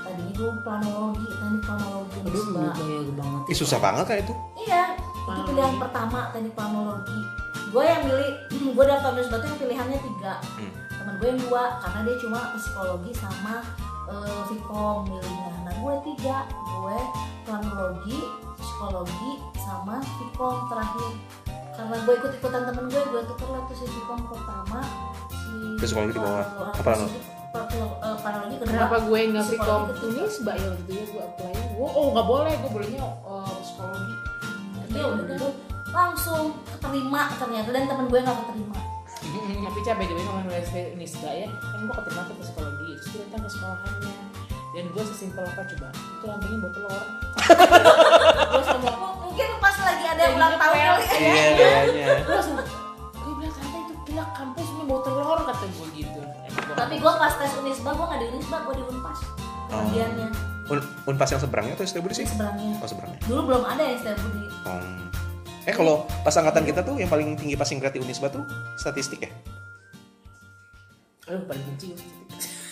S3: Tadinya gue planologi, tadi planologi
S6: Aduh,
S3: Nisba.
S6: gaya banget. ya.
S4: Ih susah banget kan itu.
S3: Iya, itu
S2: Planologi.
S3: pilihan pertama teknik planologi. Gue yang milih, gue daftar Nisba tuh yang pilihannya tiga.
S4: Hmm.
S3: Temen gue yang dua, karena dia cuma psikologi sama eh, fikom milihnya. Nah gue tiga, gue planologi, psikologi, sama fikom terakhir. Karena gue ikut-ikutan temen gue, gue tuker lah tuh si fikom pertama, si
S4: Psikologi di bawah.
S3: planologi-
S4: Apa namanya?
S3: planologi- eh, planologi kedua.
S2: Kenapa gue nggak Vkom?
S3: Psikologi
S2: Ini
S3: kedua.
S2: sebaya waktu itu ya gue apply. Gue oh nggak boleh, gue bolehnya eh, psikologi. ya
S3: Dia udah gitu, langsung keterima ternyata dan temen gue gak keterima.
S2: tapi cah by the way ngomongin USD Unisba ya kan gue keterima ke psikologi terus gue datang ke sekolahannya dan gue sesimpel apa coba itu lambangnya buat telur gue sama
S3: Mungkin pas lagi ada
S2: Jadinya
S3: ulang tahun
S2: pel.
S3: kali ya.
S4: Iya kayaknya.
S2: gue langsung gue bilang tante itu gila kampusnya bau telur kata gue gitu Emang gua-
S3: Tapi gue pas tes Unisba, gue gak di Unisba, gue di Unpas Bagiannya,
S4: Un Unpas yang seberangnya atau STB
S3: di
S4: Oh. sih?
S3: seberangnya
S4: Oh seberangnya.
S3: Dulu belum ada ya setiap Budi
S4: Hmm. Eh kalau pas angkatan kita tuh yang paling tinggi passing grade di Unisba tuh statistik ya?
S2: aduh "Eh, paling benci gua.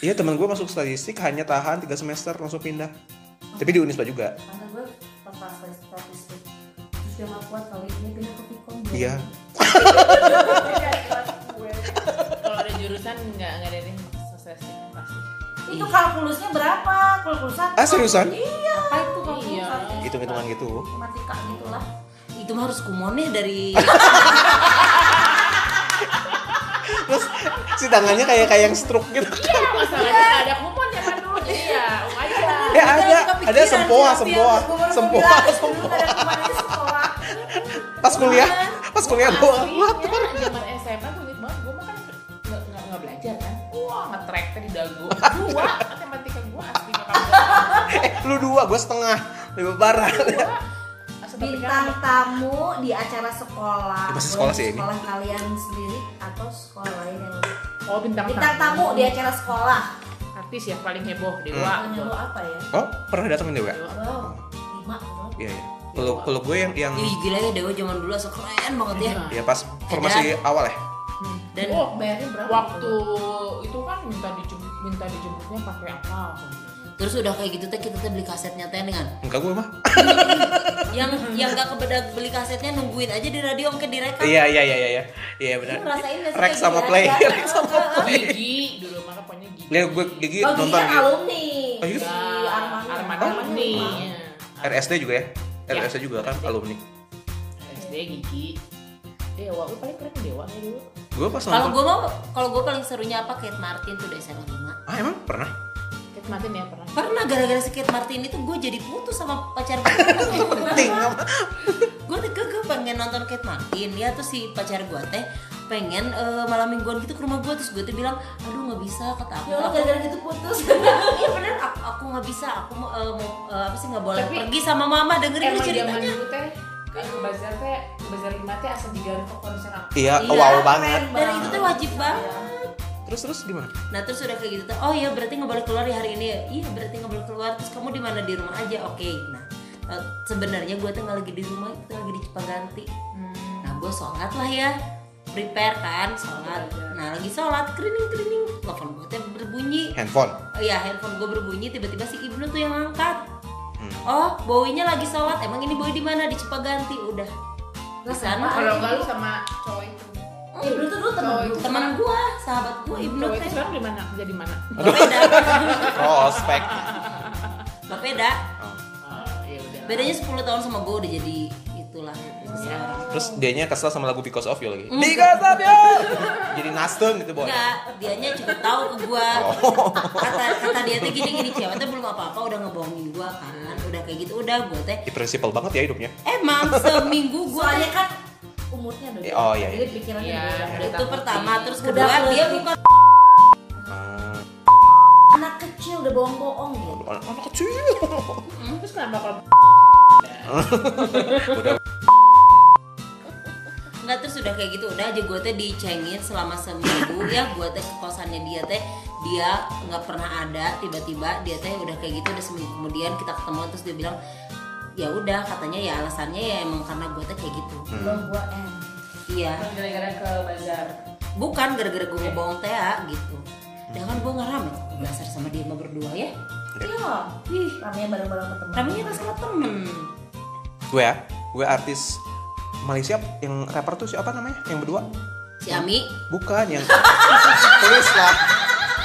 S4: Iya teman gue masuk statistik hanya tahan 3 semester langsung pindah. Tapi di Unisba juga.
S3: Maka gue pas pas tes statistik Terus dia gak kuat kali ini, pindah ke Pikom
S4: Iya.
S2: kalau ada jurusan nggak nggak ada nih sosialisasi pasti
S3: Itu kalkulusnya berapa? Kalkulus satu
S4: Ah, seriusan?
S3: Iya Apa itu
S2: Iya.
S3: kalkulus satu?
S4: Hitung-hitungan gitu.
S3: Matematika gitu lah
S6: Itu mah harus kumonnya dari
S4: Terus si tangannya kayak kayak yang stroke gitu.
S2: iya masalahnya nggak ada kupon zaman dulu jadi ya wajar
S4: Ya ada,
S6: Ada,
S4: ada
S6: kepikiran
S4: sempoa,
S6: siap-siap,
S4: sempoa,
S6: gua baru mau
S4: sempoa,
S6: bilang.
S4: sempoa.
S3: Ada kemarin sekolah
S4: Pas kuliah, pas kuliah doang.
S2: Aslinya kan zaman SMA gue inget banget gue mah kan nggak nggak nggak belajar kan. Wah ngetrek tadi dagu. Dua matematika gue asli nggak kamu.
S4: Eh, lu dua, gue setengah. Lebih parah.
S2: kan
S3: Bintang tamu di acara sekolah
S4: Ya, pasti
S3: Boleh
S4: sekolah
S3: di
S4: sih ini.
S3: Sekolah kalian sendiri atau sekolah lain yang
S2: Oh bintang,
S3: Bintang tamu di acara sekolah
S2: Artis ya paling heboh dewa. gitu.
S3: Tanya lo apa ya?
S4: Oh, pernah datang Dewa?
S2: Dewa.
S3: Wow, lima bro.
S4: Iya, iya. Kalau kalau gue yang yang
S6: Ih gila ya Dewa zaman dulu langsung keren banget ya.
S4: ya pas formasi awal ya.
S6: Dan
S2: oh,
S3: Bayarnya berapa?
S2: waktu itu kan minta dijemput minta dijemputnya pakai apa?
S6: terus udah kayak gitu teh kita teh beli kasetnya teh dengan
S4: Enggak gue mah.
S6: yang yang gak kebedak beli kasetnya nungguin aja di radio mungkin direkam.
S4: Iya, iya, iya, iya, iya. Iya benar.
S3: Lu ngerasain nggak sih
S4: Rek
S3: kayak
S4: sama
S3: gila?
S4: play, rek sama play.
S2: Gigi dulu mah pokoknya gigi.
S4: Lihat gue gigi
S3: Oh,
S4: nonton
S3: jadi kan
S4: gitu.
S3: alumni.
S4: Oh, iya?
S3: Si Armani.
S2: Armada
S3: Armani
S2: nih.
S3: lima.
S4: RSD juga ya?
S2: Ya.
S4: RSD juga kan alumni.
S2: SD gigi. Dewa, lu paling keren dewa ya dulu.
S4: Gue pas
S6: Kalau
S4: nonton.
S6: gue mau kalau gue paling serunya apa Kate Martin tuh dari SMA 5
S4: Ah, emang pernah?
S2: Kita matiin ya pernah.
S6: Pernah gara-gara si Kate Martin itu gue jadi putus sama pacar gue.
S4: Penting.
S6: gue tega gue pengen nonton Kate Martin ya tuh si pacar gue teh pengen eh, malam mingguan gitu ke rumah gue terus gue tuh bilang aduh nggak bisa kata aku
S3: Ya Allah,
S6: aku-
S3: gara-gara gitu putus.
S6: iya bener aku aku nggak bisa aku mau, eh, mau, eh, apa sih nggak boleh
S2: Tapi-
S6: pergi sama mama dengerin lu
S2: Emang zaman
S6: ceritanya
S2: dulu teh kan bazar teh bazar lima teh asal digawe ke konser aku.
S4: Iya,
S6: Iya,
S4: wow banget.
S3: Keren
S6: dan itu tuh wajib banget
S4: Terus terus gimana?
S6: nah terus udah kayak gitu tuh oh iya berarti nggak boleh keluar di hari ini ya? iya berarti nggak boleh keluar terus kamu di mana di rumah aja oke nah eh, sebenarnya gue tuh nggak lagi di rumah itu lagi di Cipaganti nah gue sholat lah ya prepare kan sholat nah lagi sholat kerining kerining telepon gue teh berbunyi
S4: Handphone.
S6: Oh ya handphone gue berbunyi tiba-tiba si ibnu tuh yang angkat oh bowinya lagi sholat emang ini boy di mana di Cipaganti udah di sana kan
S2: Kalau enggak lu sama cowok itu.
S3: Ya, dulu tuh dulu temen
S2: Cowok
S3: gue.
S2: itu.
S6: teman gue sahabat gue ibnu kan.
S2: Cowok itu
S6: teh
S2: sekarang di mana? Kerja di mana?
S6: beda
S4: Prospek.
S6: beda
S4: Oh.
S2: ya udah.
S6: bedanya 10 tahun sama gue udah jadi itulah seseorang
S4: Terus dianya kesel sama lagu Because of You lagi. Because of You. Jadi nasdem gitu boy.
S6: Enggak, dianya cukup tahu ke gua. Kata kata dia tuh gini gini cewek tuh belum apa-apa udah ngebohongin gua kan. Udah kayak gitu udah gua teh
S4: Di prinsipal banget ya hidupnya.
S6: emang seminggu gua
S3: Soalnya
S6: teh-
S3: kan umurnya udah
S4: Eh,
S3: beda.
S4: oh, iya,
S3: jadi pikirannya
S2: Iya,
S3: udah beda.
S2: iya.
S6: itu pertama terus
S3: Udah
S6: kedua dia
S3: ngerti.
S6: bukan
S4: Hmm,
S3: anak kecil udah bohong-bohong gitu
S4: anak anak kecil.
S2: Terus kenapa kalau
S4: Udah
S6: Nggak terus udah kayak gitu udah aja gue teh dicengin selama seminggu ya gue teh ke kosannya dia teh dia nggak pernah ada tiba-tiba dia teh udah kayak gitu udah seminggu kemudian kita ketemu terus dia bilang ya udah katanya ya alasannya ya emang karena gue teh kayak gitu
S3: belum gua eh
S6: iya
S2: gara-gara ke bazar?
S6: bukan gara-gara gue ngebohong teh gitu jangan gue ngeram ya. dasar sama dia mah berdua ya
S3: iya ih ramenya bareng-bareng ketemu
S6: ramenya nggak sama temen
S4: gue ya, gue artis Malaysia yang rapper tuh siapa namanya? Yang berdua?
S6: si Ami
S4: Bukan yang tulis lah.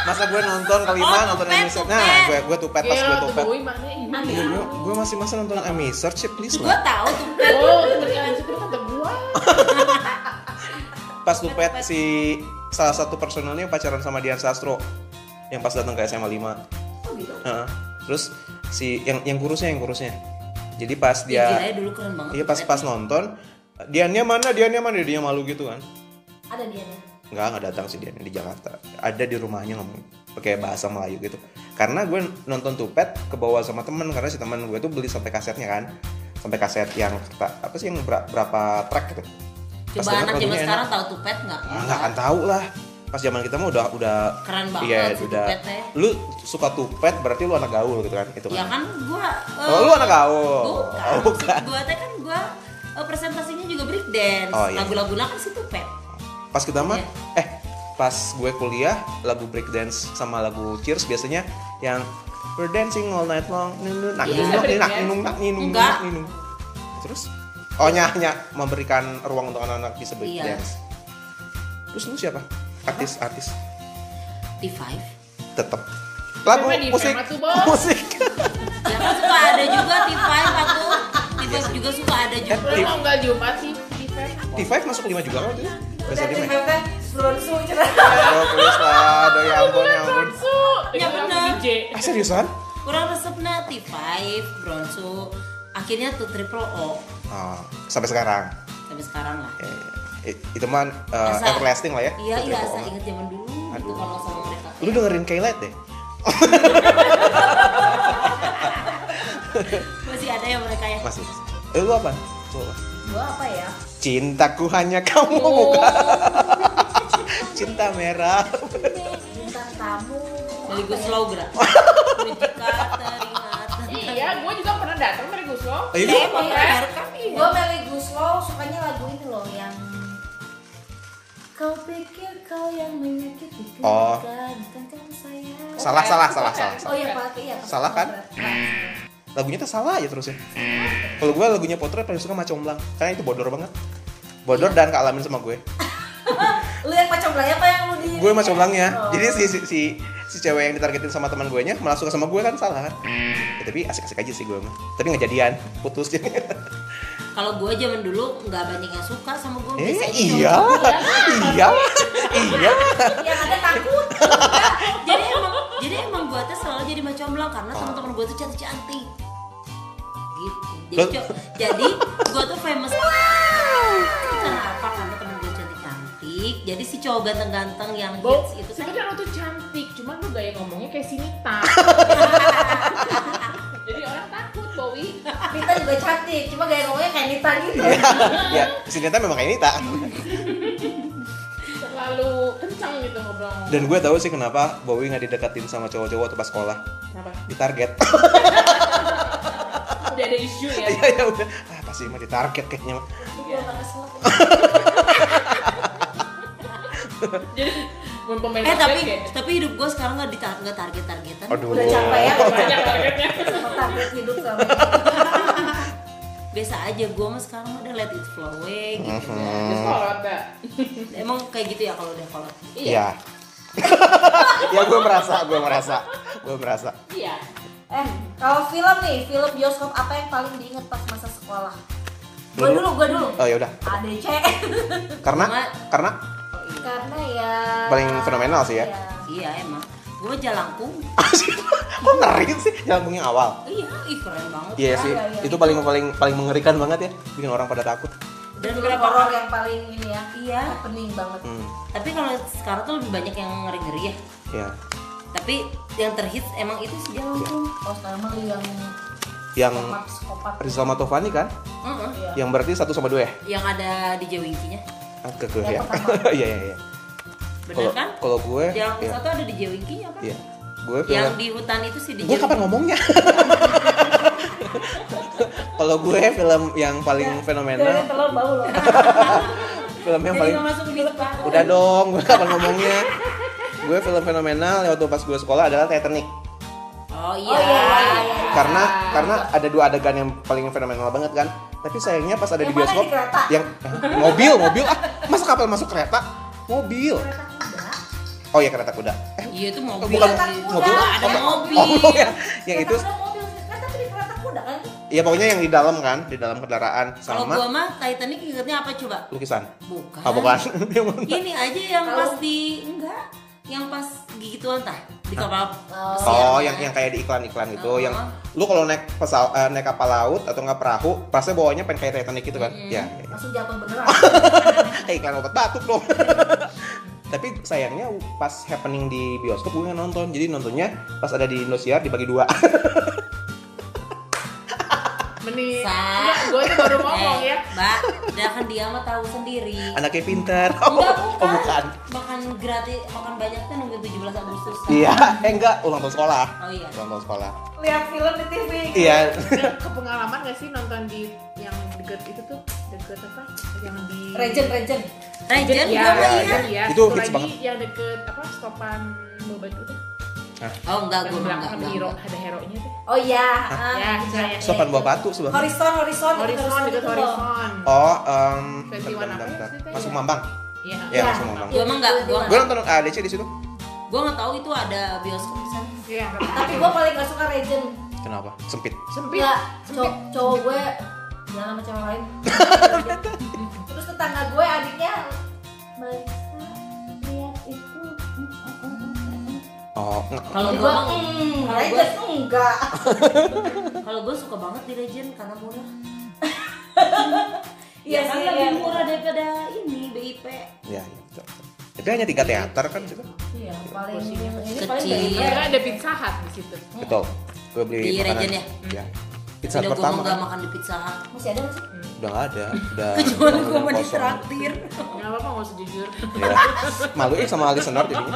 S4: Masa gue nonton kelima
S6: Oh,
S4: nonton
S6: Tupet,
S4: Ami Search.
S6: Tupet.
S4: Nah, gue gue tupet pas gue
S2: Gila, tuh
S4: tupet.
S2: Bowie makanya gimana?
S4: Iya, gue, gue masih masa nonton Ami Search ya, please
S6: gue
S4: lah.
S6: tahu tuh
S2: Oh, ternyata itu kata gua.
S4: Pas tupet si salah satu personelnya pacaran sama Dian Sastro yang pas datang ke SMA 5.
S3: Oh, gitu.
S4: Heeh. Terus si yang yang kurusnya yang kurusnya. Jadi pas
S6: dia
S4: dia
S6: dulu keren banget
S4: Ya. Iya pas pas nonton Diannya mana Diannya mana dia malu gitu kan
S3: ada dia nih
S4: nggak nggak datang sih Diannya di Jakarta ada di rumahnya ngomong pakai bahasa Melayu gitu karena gue nonton tupet ke bawah sama temen karena si temen gue tuh beli sampai kasetnya kan sampai kaset yang kerta- apa sih yang ber- berapa track gitu Pas
S6: coba
S4: denger
S6: anak
S4: lagunya
S6: zaman
S4: enak.
S6: sekarang tahu tupet nggak
S4: Ah, nggak akan tahu lah pas zaman kita mah udah udah
S6: keren banget
S4: iya
S6: si
S4: udah
S6: tupet ya. teh
S4: lu suka tupet berarti lu anak gaul gitu kan itu
S6: ya
S4: kan
S6: kan gua eh,
S4: Oh, lu anak gaul.
S6: bukan
S4: Oh,
S6: Maksud
S4: bukan.
S6: gua teh kan gua eh, presentasinya juga break dance
S4: Oh, iya.
S6: lagu-lagunya kan si tupet
S4: pas kita mah eh pas gue kuliah lagu breakdance sama lagu cheers biasanya yang we're dancing all night long nung, nung, nak nung nak nak nung nak nung
S6: Enggak.
S4: nak nung terus oh nyah nyah memberikan ruang untuk anak-anak bisa
S6: Iya.
S4: breakdance terus lu siapa artis artis
S6: T5
S4: tetep lagu
S2: Siapa di
S4: musik
S2: Fema tuh, Bos?
S4: musik
S6: ya kan suka ada juga T5 aku
S4: Iya
S6: T5 juga suka ada
S4: Eh,
S6: juga
S2: Lu mau nggak Jumat sih? di Feb?
S4: T5 masuk lima juga kan waktu itu
S3: udah
S4: Biasa
S3: di
S4: lima ya?
S3: mepet bronsu cerah
S4: Aduh, please lah, aduh ya ampun, ya ampun.
S2: Su,
S3: Iya,
S6: Ya,
S2: itu
S6: bener.
S2: DJ.
S4: Ah, seriusan?
S6: kurang resepnya T5 Bronsu akhirnya tuh triple O
S4: Oh, sampai sekarang.
S6: sampai sekarang lah
S4: Ya, ya. itu mah uh,
S6: Asa-
S4: everlasting lah ya.
S6: iya
S4: Putri
S6: iya
S4: Poongan.
S6: asal inget zaman dulu gitu
S4: Aduh.
S6: kalau sama mereka
S4: lu dengerin Kaylight deh
S6: masih ada ya mereka ya
S4: masih eh, lu apa Lu apa?
S3: gua apa ya
S4: cintaku hanya kamu
S6: Oh.
S4: bukan cinta merah
S3: bintang tamu
S6: dari gue slow gerak Menuju kata ringan.
S2: Iya, gua juga pernah datang dari Guslo.
S4: Eh,
S6: Saya
S4: itu
S6: mau bayar
S4: Iya.
S6: kami.
S3: Gue Melly Guslow sukanya lagu ini loh yang Kau pikir kau yang menyakiti
S4: Oh.
S3: kan Bukan sayang
S4: salah salah salah salah,
S3: Oh
S4: salah.
S3: iya Pak, iya Pak.
S4: Salah kan? lagunya tuh salah aja terus ya kalau gue lagunya potret paling suka macomblang karena itu bodor banget bodor
S6: Iya.
S4: dan kealamin sama gue
S3: Lu yang macam belanya apa yang lu di Oh.
S4: gue
S6: Oh.
S4: macomblangnya ya. jadi si si si, si cewek yang ditargetin sama teman gue nya malah suka sama gue kan salah kan
S6: Hmm.
S4: Ya, tapi asik-asik aja sih gue mah tapi nggak jadian putus jadi
S6: Kalau gue zaman dulu nggak banyak yang suka sama gue.
S4: eh iya iya iya
S3: Yang ada takut
S6: Jadi emang jadi emang gue tuh selalu jadi macomblang karena
S4: Ah.
S6: teman-teman gue tuh cantik cantik. Gitu. Jadi
S4: Lo-
S6: co- jadi gue tuh famous. Kenapa? Karena teman gue cantik cantik. Jadi si cowok ganteng-ganteng yang
S2: Bo,
S6: hits
S3: gitu kan.
S6: itu tuh
S2: sebenarnya lu tuh cantik, cuman lu gaya ngomongnya kayak sinita. Jadi orang takut, Bowie.
S3: Nita juga cantik, cuma gaya ngomongnya kayak Nita gitu
S4: ya si Neta memang kayak Nita
S2: Terlalu kencang gitu ngobrol.
S4: Dan gue tahu sih kenapa Bowie nggak dideketin sama cowok-cowok waktu pas sekolah,
S2: Kenapa?
S4: ditarget.
S2: Udah ada isu ya.
S4: Iya ya udah, ah pasti mah ditarget kayaknya. mah.
S3: Gue gak kesel
S2: Jadi gitu. mau pemain
S6: Eh tapi
S2: basket
S6: tapi hidup gue sekarang nggak ditar nggak target targetan.
S4: Aduh.
S3: Udah capek ya
S2: ya? banyak targetnya.
S4: Hmm.
S3: Sama takut hidup sama
S6: Biasa aja gue mah sekarang udah let it flow away gitu.
S4: Mhm.
S2: Terus kalau ada
S6: Emang kayak gitu ya kalau udah kolot.
S4: Iya. ya gue merasa, gue merasa, gue merasa.
S2: iya.
S3: Eh, kalau film nih, film bioskop apa yang paling diinget pas masa sekolah? Gue
S4: Dulu.
S3: dulu, gue dulu
S4: Oh ya udah,
S3: ADC
S4: karena
S6: Cuma- eh,
S4: karena
S3: Karena ya
S4: Paling fenomenal sih ya.
S6: Iya emang. Gue jalangkung.
S4: kok ngeri sih jalan yang awal.
S6: Iya, ih keren banget.
S4: Iya sih, itu paling paling paling mengerikan banget ya, bikin orang pada takut.
S6: Dan
S3: film
S6: berapa
S3: horor
S6: kali-
S3: yang paling ini ya
S6: Iya.
S3: happening banget
S4: Hmm,
S6: Tapi kalau sekarang tuh lebih banyak yang ngeri-ngeri ya.
S4: ya.
S6: Tapi yang terhits emang itu sih jalan
S4: Iya.
S6: tuh.
S3: oh sekarang mah yang
S4: Yang
S3: kopat kopat
S4: Rizal Matovani kan?
S6: Heeh.
S4: Yang berarti satu sama dua ya?
S6: Yang ada DJ Winky-nya.
S4: Kekeh ya.
S3: Yang
S4: Iya iya iya.
S6: Bener
S4: Kalau
S6: kan?
S4: kalau gue
S6: Yang
S4: ya.
S6: satu ada DJ Winky-nya kan?
S4: Iya. Gue
S6: Yang
S4: film
S6: di hutan itu sih DJ
S4: Gue kapan ngomongnya? kalau gue film yang paling fenomenal,
S3: Iya, telur bau loh
S4: film yang paling
S6: masuk di hutan.
S4: udah dong, gue kapan ngomongnya? gue film fenomenal waktu pas gue sekolah adalah Titanic.
S6: Oh
S3: oh
S6: iya.
S3: iya iya iya
S4: karena karena ada dua adegan yang paling fenomenal banget kan tapi sayangnya pas ada di
S3: Yang mana
S4: bioskop
S3: di kereta?
S4: yang eh, mobil mobil ah masa kapal masuk kereta mobil oh ya kereta kuda eh
S6: Iya itu mobil.
S4: bukan
S6: sih.
S4: mobil
S6: Nah, ada mobil.
S4: oh ya yang itu
S3: Kereta kuda mobil kan tapi di kereta kuda kan
S4: ya pokoknya yang di dalam kan di dalam kendaraan
S6: Kalau gua
S4: sama
S6: mah Titanic ingetnya apa coba?
S4: lukisan
S6: Bukan.
S4: ah bukan Yang mana?
S6: Ini aja yang
S3: Kalau-
S6: pas di enggak, yang pas gigi tuan tah di kapal.
S3: Oh.
S6: pesiar.
S4: Oh, yang yang kayak di iklan-iklan gitu,
S6: Uh-huh.
S4: yang lu kalau naik pesawat, eh, naik kapal laut atau nggak perahu, pasti bawahnya pengen kayak Titanic gitu kan? Ya, ya,
S3: langsung jatuh beneran
S4: Eh, iklan obat batuk dong. Tapi sayangnya pas happening di bioskop gue nggak nonton. Jadi nontonnya pas ada di Indosiar dibagi dua.
S2: Meni,
S6: Sa.
S2: enggak, gue itu baru ngomong
S6: Eh,
S2: ya.
S6: Mbak, dah kan dia mah tahu sendiri.
S4: Anaknya pintar.
S6: Enggak
S4: Oh,
S6: bukan.
S4: bukan.
S6: Makan gratis, makan banyak kan nunggu 17 Agustus. kan?
S4: Iya, eh enggak ulang tahun sekolah.
S6: Oh iya.
S4: Ulang tahun sekolah.
S3: lihat film di TV
S4: Iya.
S2: Udah Nah, kepengalaman gak sih nonton di yang deket itu tuh deket apa? Yang di
S3: Regent Regent
S6: Regen
S2: Iya,
S6: enggak,
S4: iya,
S6: iya.
S2: iya.
S4: Itu
S2: Itu
S4: hits
S2: lagi
S4: banget.
S2: yang deket apa stopan Bobat itu.
S6: Oh enggak
S2: Yang
S6: gua mah enggak.
S2: belakang ada hero,
S6: enggak.
S2: ada hero-nya tuh.
S3: oh iya
S2: Ya, saya.
S4: Sopan buah batu sebenarnya.
S3: horizon horizon
S2: Horizon deket horizon.
S4: Oh, em, bentar,
S2: 21
S4: bentar,
S2: apa
S4: bentar.
S2: sih, Teh?
S4: Masuk Mambang.
S2: Iya.
S4: Iya, masuk Mambang.
S6: Gua mah enggak, gua
S4: Gue nonton ADC di situ.
S6: gua enggak tahu itu ada bioskop di sana.
S2: Iya.
S3: tapi gue paling gak suka Regent
S4: Kenapa? Sempit.
S2: sempit.
S3: Enggak, cowok, cowok gue jalan sama cewek lain Terus tetangga gue adiknya Marisa, lihat itu
S4: Oh, nggak.
S6: Kalau
S3: Jadi gue,
S6: gua mah
S3: hmm,
S6: kalau
S3: Regent enggak
S6: Kalau gue suka banget di Legend karena murah.
S3: Iya
S6: kan
S3: sih,
S6: lebih
S3: iya.
S6: murah daripada ini BIP.
S4: ya, ya. betul. Tapi hanya tiga teater kan situ.
S6: Hmm.
S3: Iya, paling
S2: Kursinya
S3: ini paling
S6: kecil.
S3: Regent.
S2: Karena kan ada pizza hut di situ.
S4: Betul. Gue beli
S6: Di
S4: makanan.
S6: Regen ya?
S4: Iya. Pizza
S6: Sudah
S4: Hut
S6: gue
S4: pertama. kan.
S6: nggak makan di Pizza Hut.
S3: Masih ada nggak sih?
S4: Udah nggak ada. Udah.
S6: Kecuali gue
S4: bangunan
S6: mau
S4: kosong.
S6: ditraktir.
S2: Enggak apa-apa enggak usah jujur.
S4: Ya. Malu ya sama listener jadinya.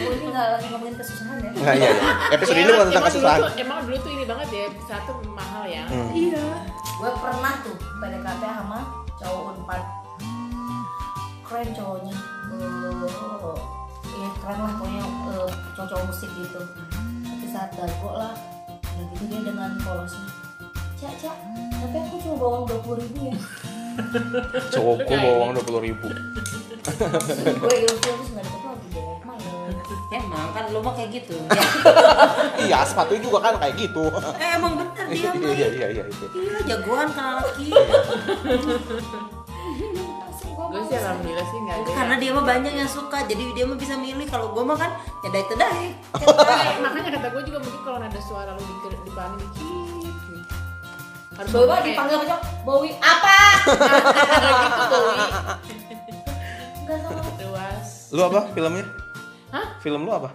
S3: Oh, ini nggak lagi ngomongin kesusahan ya
S4: Nah, iya, iya. Episode
S2: Ya,
S4: ini bukan tentang
S2: emang dulu
S4: kesusahan.
S2: tuh- Emang dulu tuh ini banget ya, pizza hut tuh mahal ya.
S4: Hmm.
S2: Iya.
S3: Gue pernah tuh PDKT sama cowok unpad Keren cowoknya Eh, Iya keren lah pokoknya eh, cowok-cowok musik gitu Tapi saat dago lah Udah gitu dia dengan polosnya Cak, cak, tapi aku cuma bawa uang 20 ribu ya
S4: Cowok gue bawa uang dua puluh ribu.
S3: Terus Gue ilfil iya, terus gak dapet lagi deh ya. Main
S6: Emang kan lo mah kayak gitu. Ya.
S4: Iya, sepatunya juga kan kayak gitu.
S6: eh, emang bener dia mah.
S4: Iya, iya, iya, iya.
S6: Iya jagoan kan laki.
S3: Iya,
S2: Gue
S6: ya,
S2: sih alhamdulillah sih enggak ada.
S6: Karena dia mah banyak yang suka, jadi dia mah bisa milih. Kalau gue mah kan nyedai tedai.
S2: Eh, makanya kata gue juga mungkin kalau nada suara lu di dipahami dikit gitu. harus
S3: Bawa
S2: pakai-
S3: dipanggil aja Bowie apa?
S2: gitu Bowie.
S3: Enggak sama
S2: luas
S4: Lu apa filmnya?
S2: Hah?
S4: Film lu apa?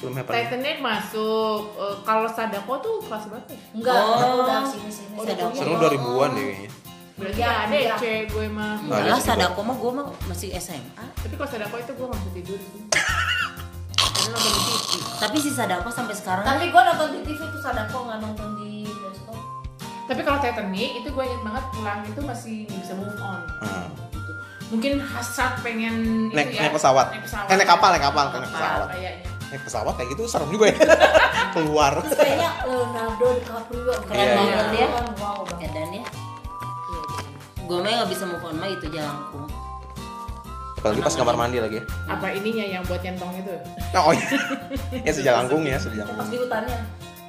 S4: Film apa?
S2: Titanic masuk Eh, kalau Sadako tuh kelas berapa ya?
S3: Enggak,
S6: Oh.
S3: udah sini-sini
S6: Udah dong.
S4: Seru dua ribuan ya? deh kayaknya.
S2: berarti
S3: Iya,
S2: nggak ada ya
S3: iya.
S2: cewek gue mah
S4: Nggak ada
S6: Malah
S4: sih,
S6: sadako mah gue mah masih SMA.
S2: tapi kalau Sadako itu gue nggak bisa tidur sih karena nonton di TV
S6: Tapi si sadako sampai sekarang
S3: Tapi gue nonton di TV tuh Sadako nggak nonton di bioskop
S2: tapi kalau Titanic itu gue inget banget pulang itu masih nggak bisa move on
S4: Hmm.
S2: gitu. mungkin hasrat pengen
S4: Naik-
S2: itu ya,
S4: naik pesawat.
S2: naik pesawat
S4: Eh, naik kapal, naik kapal, naik pesawat.
S2: kayaknya
S4: Naik pesawat kayak gitu serem juga ya. Keluar.
S3: Terus kayaknya Leonardo DiCaprio
S6: keren
S4: Iya,
S6: banget
S3: dia
S6: ya.
S3: kan wow banget.
S6: Edan ya. Gue mah nggak bisa move on mah itu jalangkung.
S4: Apalagi gitu pas kamar mandi lagi ya.
S2: apa ininya yang buat nyentong itu
S4: Nah, oh iya. Ya sejalangkung ya,
S3: Pas di
S4: sejalangkung.
S3: hutannya.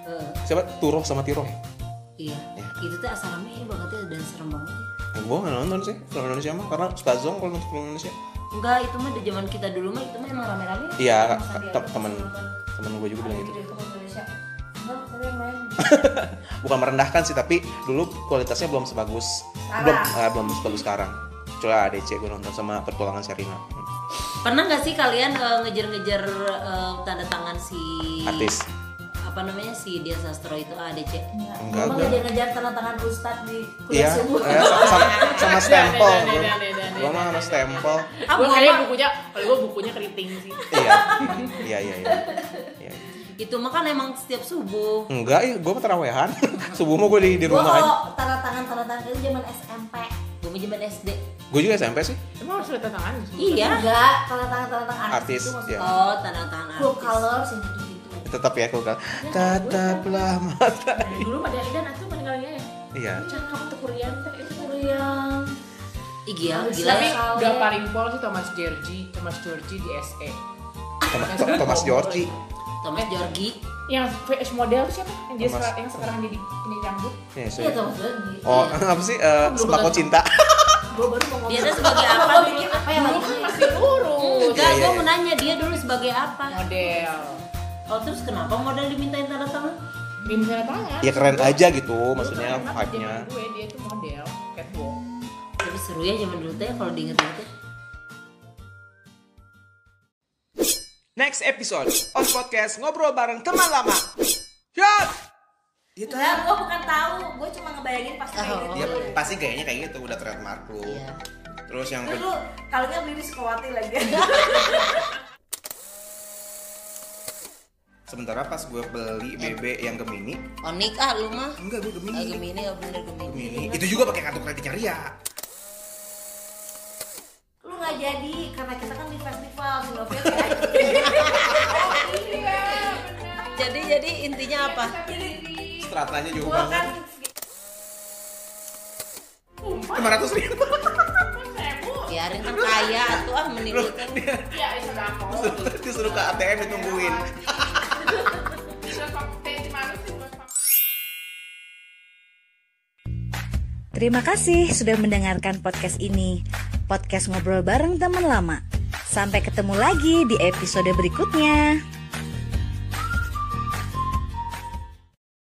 S6: Eh,
S4: Siapa? Turoh sama Tiroh ya?
S6: iya.
S4: Iya.
S6: Itu tuh asalnya ini banget dan serem banget. ya.
S4: Eh, gue nggak nonton sih film Indonesia mah karena suka zonk kalau nonton film Indonesia.
S6: Enggak, itu mah di zaman kita dulu mah itu mah emang rame-rame. ya.
S4: Iya,
S3: Sandiaga
S4: te- temen
S3: Uno.
S4: temen gue juga bilang
S3: Ada
S4: gitu.
S3: di Indonesia. Enggak, tapi yang main.
S4: bukan merendahkan sih tapi dulu kualitasnya belum sebagus belum eh, belum sebagus sekarang Cula ADC gue nonton sama pertulangan Serina Hmm.
S6: Pernah nggak sih kalian eh, ngejar-ngejar eh, tanda tangan si
S4: artis
S6: apa namanya si Dian Sastro itu ADC?
S4: Enggak,
S3: Emang
S4: enggak.
S3: ngejar tanda tangan Ustadz di kuliah
S4: Iya,
S3: subuh.
S4: eh, sama, sama, sama stempel.
S2: Beda, beda, beda, beda,
S4: Gua mah sama
S2: beda,
S4: stempel.
S2: beda. Gua kayaknya bukunya, kalau gua bukunya keriting sih.
S4: Iya, iya, iya. iya. Iya.
S6: Itu mah kan emang setiap subuh.
S4: Enggak, ya, gue mah terawehan. Subuh mah gue di, di
S3: Gua
S4: rumah aja.
S3: kalau tanda tangan tanda tangan itu zaman SMP.
S6: Gue mau jaman SD.
S4: Gue juga SMP sih.
S2: Emang harus ada tantangan?
S6: Iya.
S3: Enggak, tanda tangan tanda tangan
S4: Artis,
S3: itu maksudnya.
S4: iya.
S6: Oh, tanda tangan.
S3: Club
S6: artis.
S3: color sih gitu gitu.
S4: Tetap ya gue kan. Tataplah mata.
S2: Dulu pada Idan itu meninggalnya ya.
S4: Iya.
S2: Cakep tuh Korean teh itu.
S3: Kurian.
S6: Ih, gila,
S3: Harus
S6: gila.
S2: Tapi
S3: Iya, sawe.
S2: udah paling pol sih Thomas Georgie, Thomas Georgie di E. SE.
S4: Thomas, Thomas Georgie.
S6: Thomas Georgi.
S2: Yang VS model siapa? Yang dia
S4: Thomas.
S2: seka- yang sekarang jadi ini rambut.
S4: Iya,
S3: Iya
S4: sorry.
S3: tuh maksudnya.
S4: Oh, apa sih? Eh, sembako cinta.
S3: Gue baru mau ngomong.
S6: Dia tuh sebagai apa
S3: Gua
S6: dulu?
S3: mikir Oh, apa yang lagi?
S2: Masih lurus.
S6: Enggak,
S4: iya,
S6: gue
S4: iya.
S6: mau nanya dia dulu sebagai
S2: Hmm.
S6: apa.
S2: Model.
S6: Oh, terus kenapa modal dimintain tanda tangan?
S2: Bintang tangan.
S4: Ya keren aja gitu,
S2: Dulu
S4: maksudnya
S2: kan anak
S4: vibe-nya.
S2: zaman Gue dia tuh model catwalk.
S6: Tapi seru ya zaman dulu teh kalau diinget-inget teh.
S4: Next episode on podcast ngobrol bareng teman lama. Yuk! Gitu
S3: Enggak, gue bukan tahu. Gue cuma ngebayangin pasti kayak gitu.
S4: Dia pasti gayanya kayak gitu udah trademark lu. Terus yang
S3: Terus lu
S4: kedua
S3: kalau nggak beli di Sukawati lagi.
S4: Sementara pas gue beli BB yang Gemini,
S6: Onik ah lu mah.
S4: enggak gue Gemini.
S6: Ah, Gemini ya bener Gemini.
S4: Gemini. Itu juga pakai kartu kreditnya Ria.
S3: Lu nggak jadi karena kita kan di festival Surabaya.
S6: Jadi jadi intinya apa?
S4: Stratanya juga
S3: Gue kan
S4: banget. 500 ribu.
S6: Biarin kan kaya atuh ah menimbulkan.
S2: Iya, itu aku.
S4: Disuruh ke ATM ditungguin.
S2: Bisa pakai cuma
S5: Terima kasih sudah mendengarkan podcast ini. Podcast ngobrol bareng teman lama. Sampai ketemu lagi di episode berikutnya.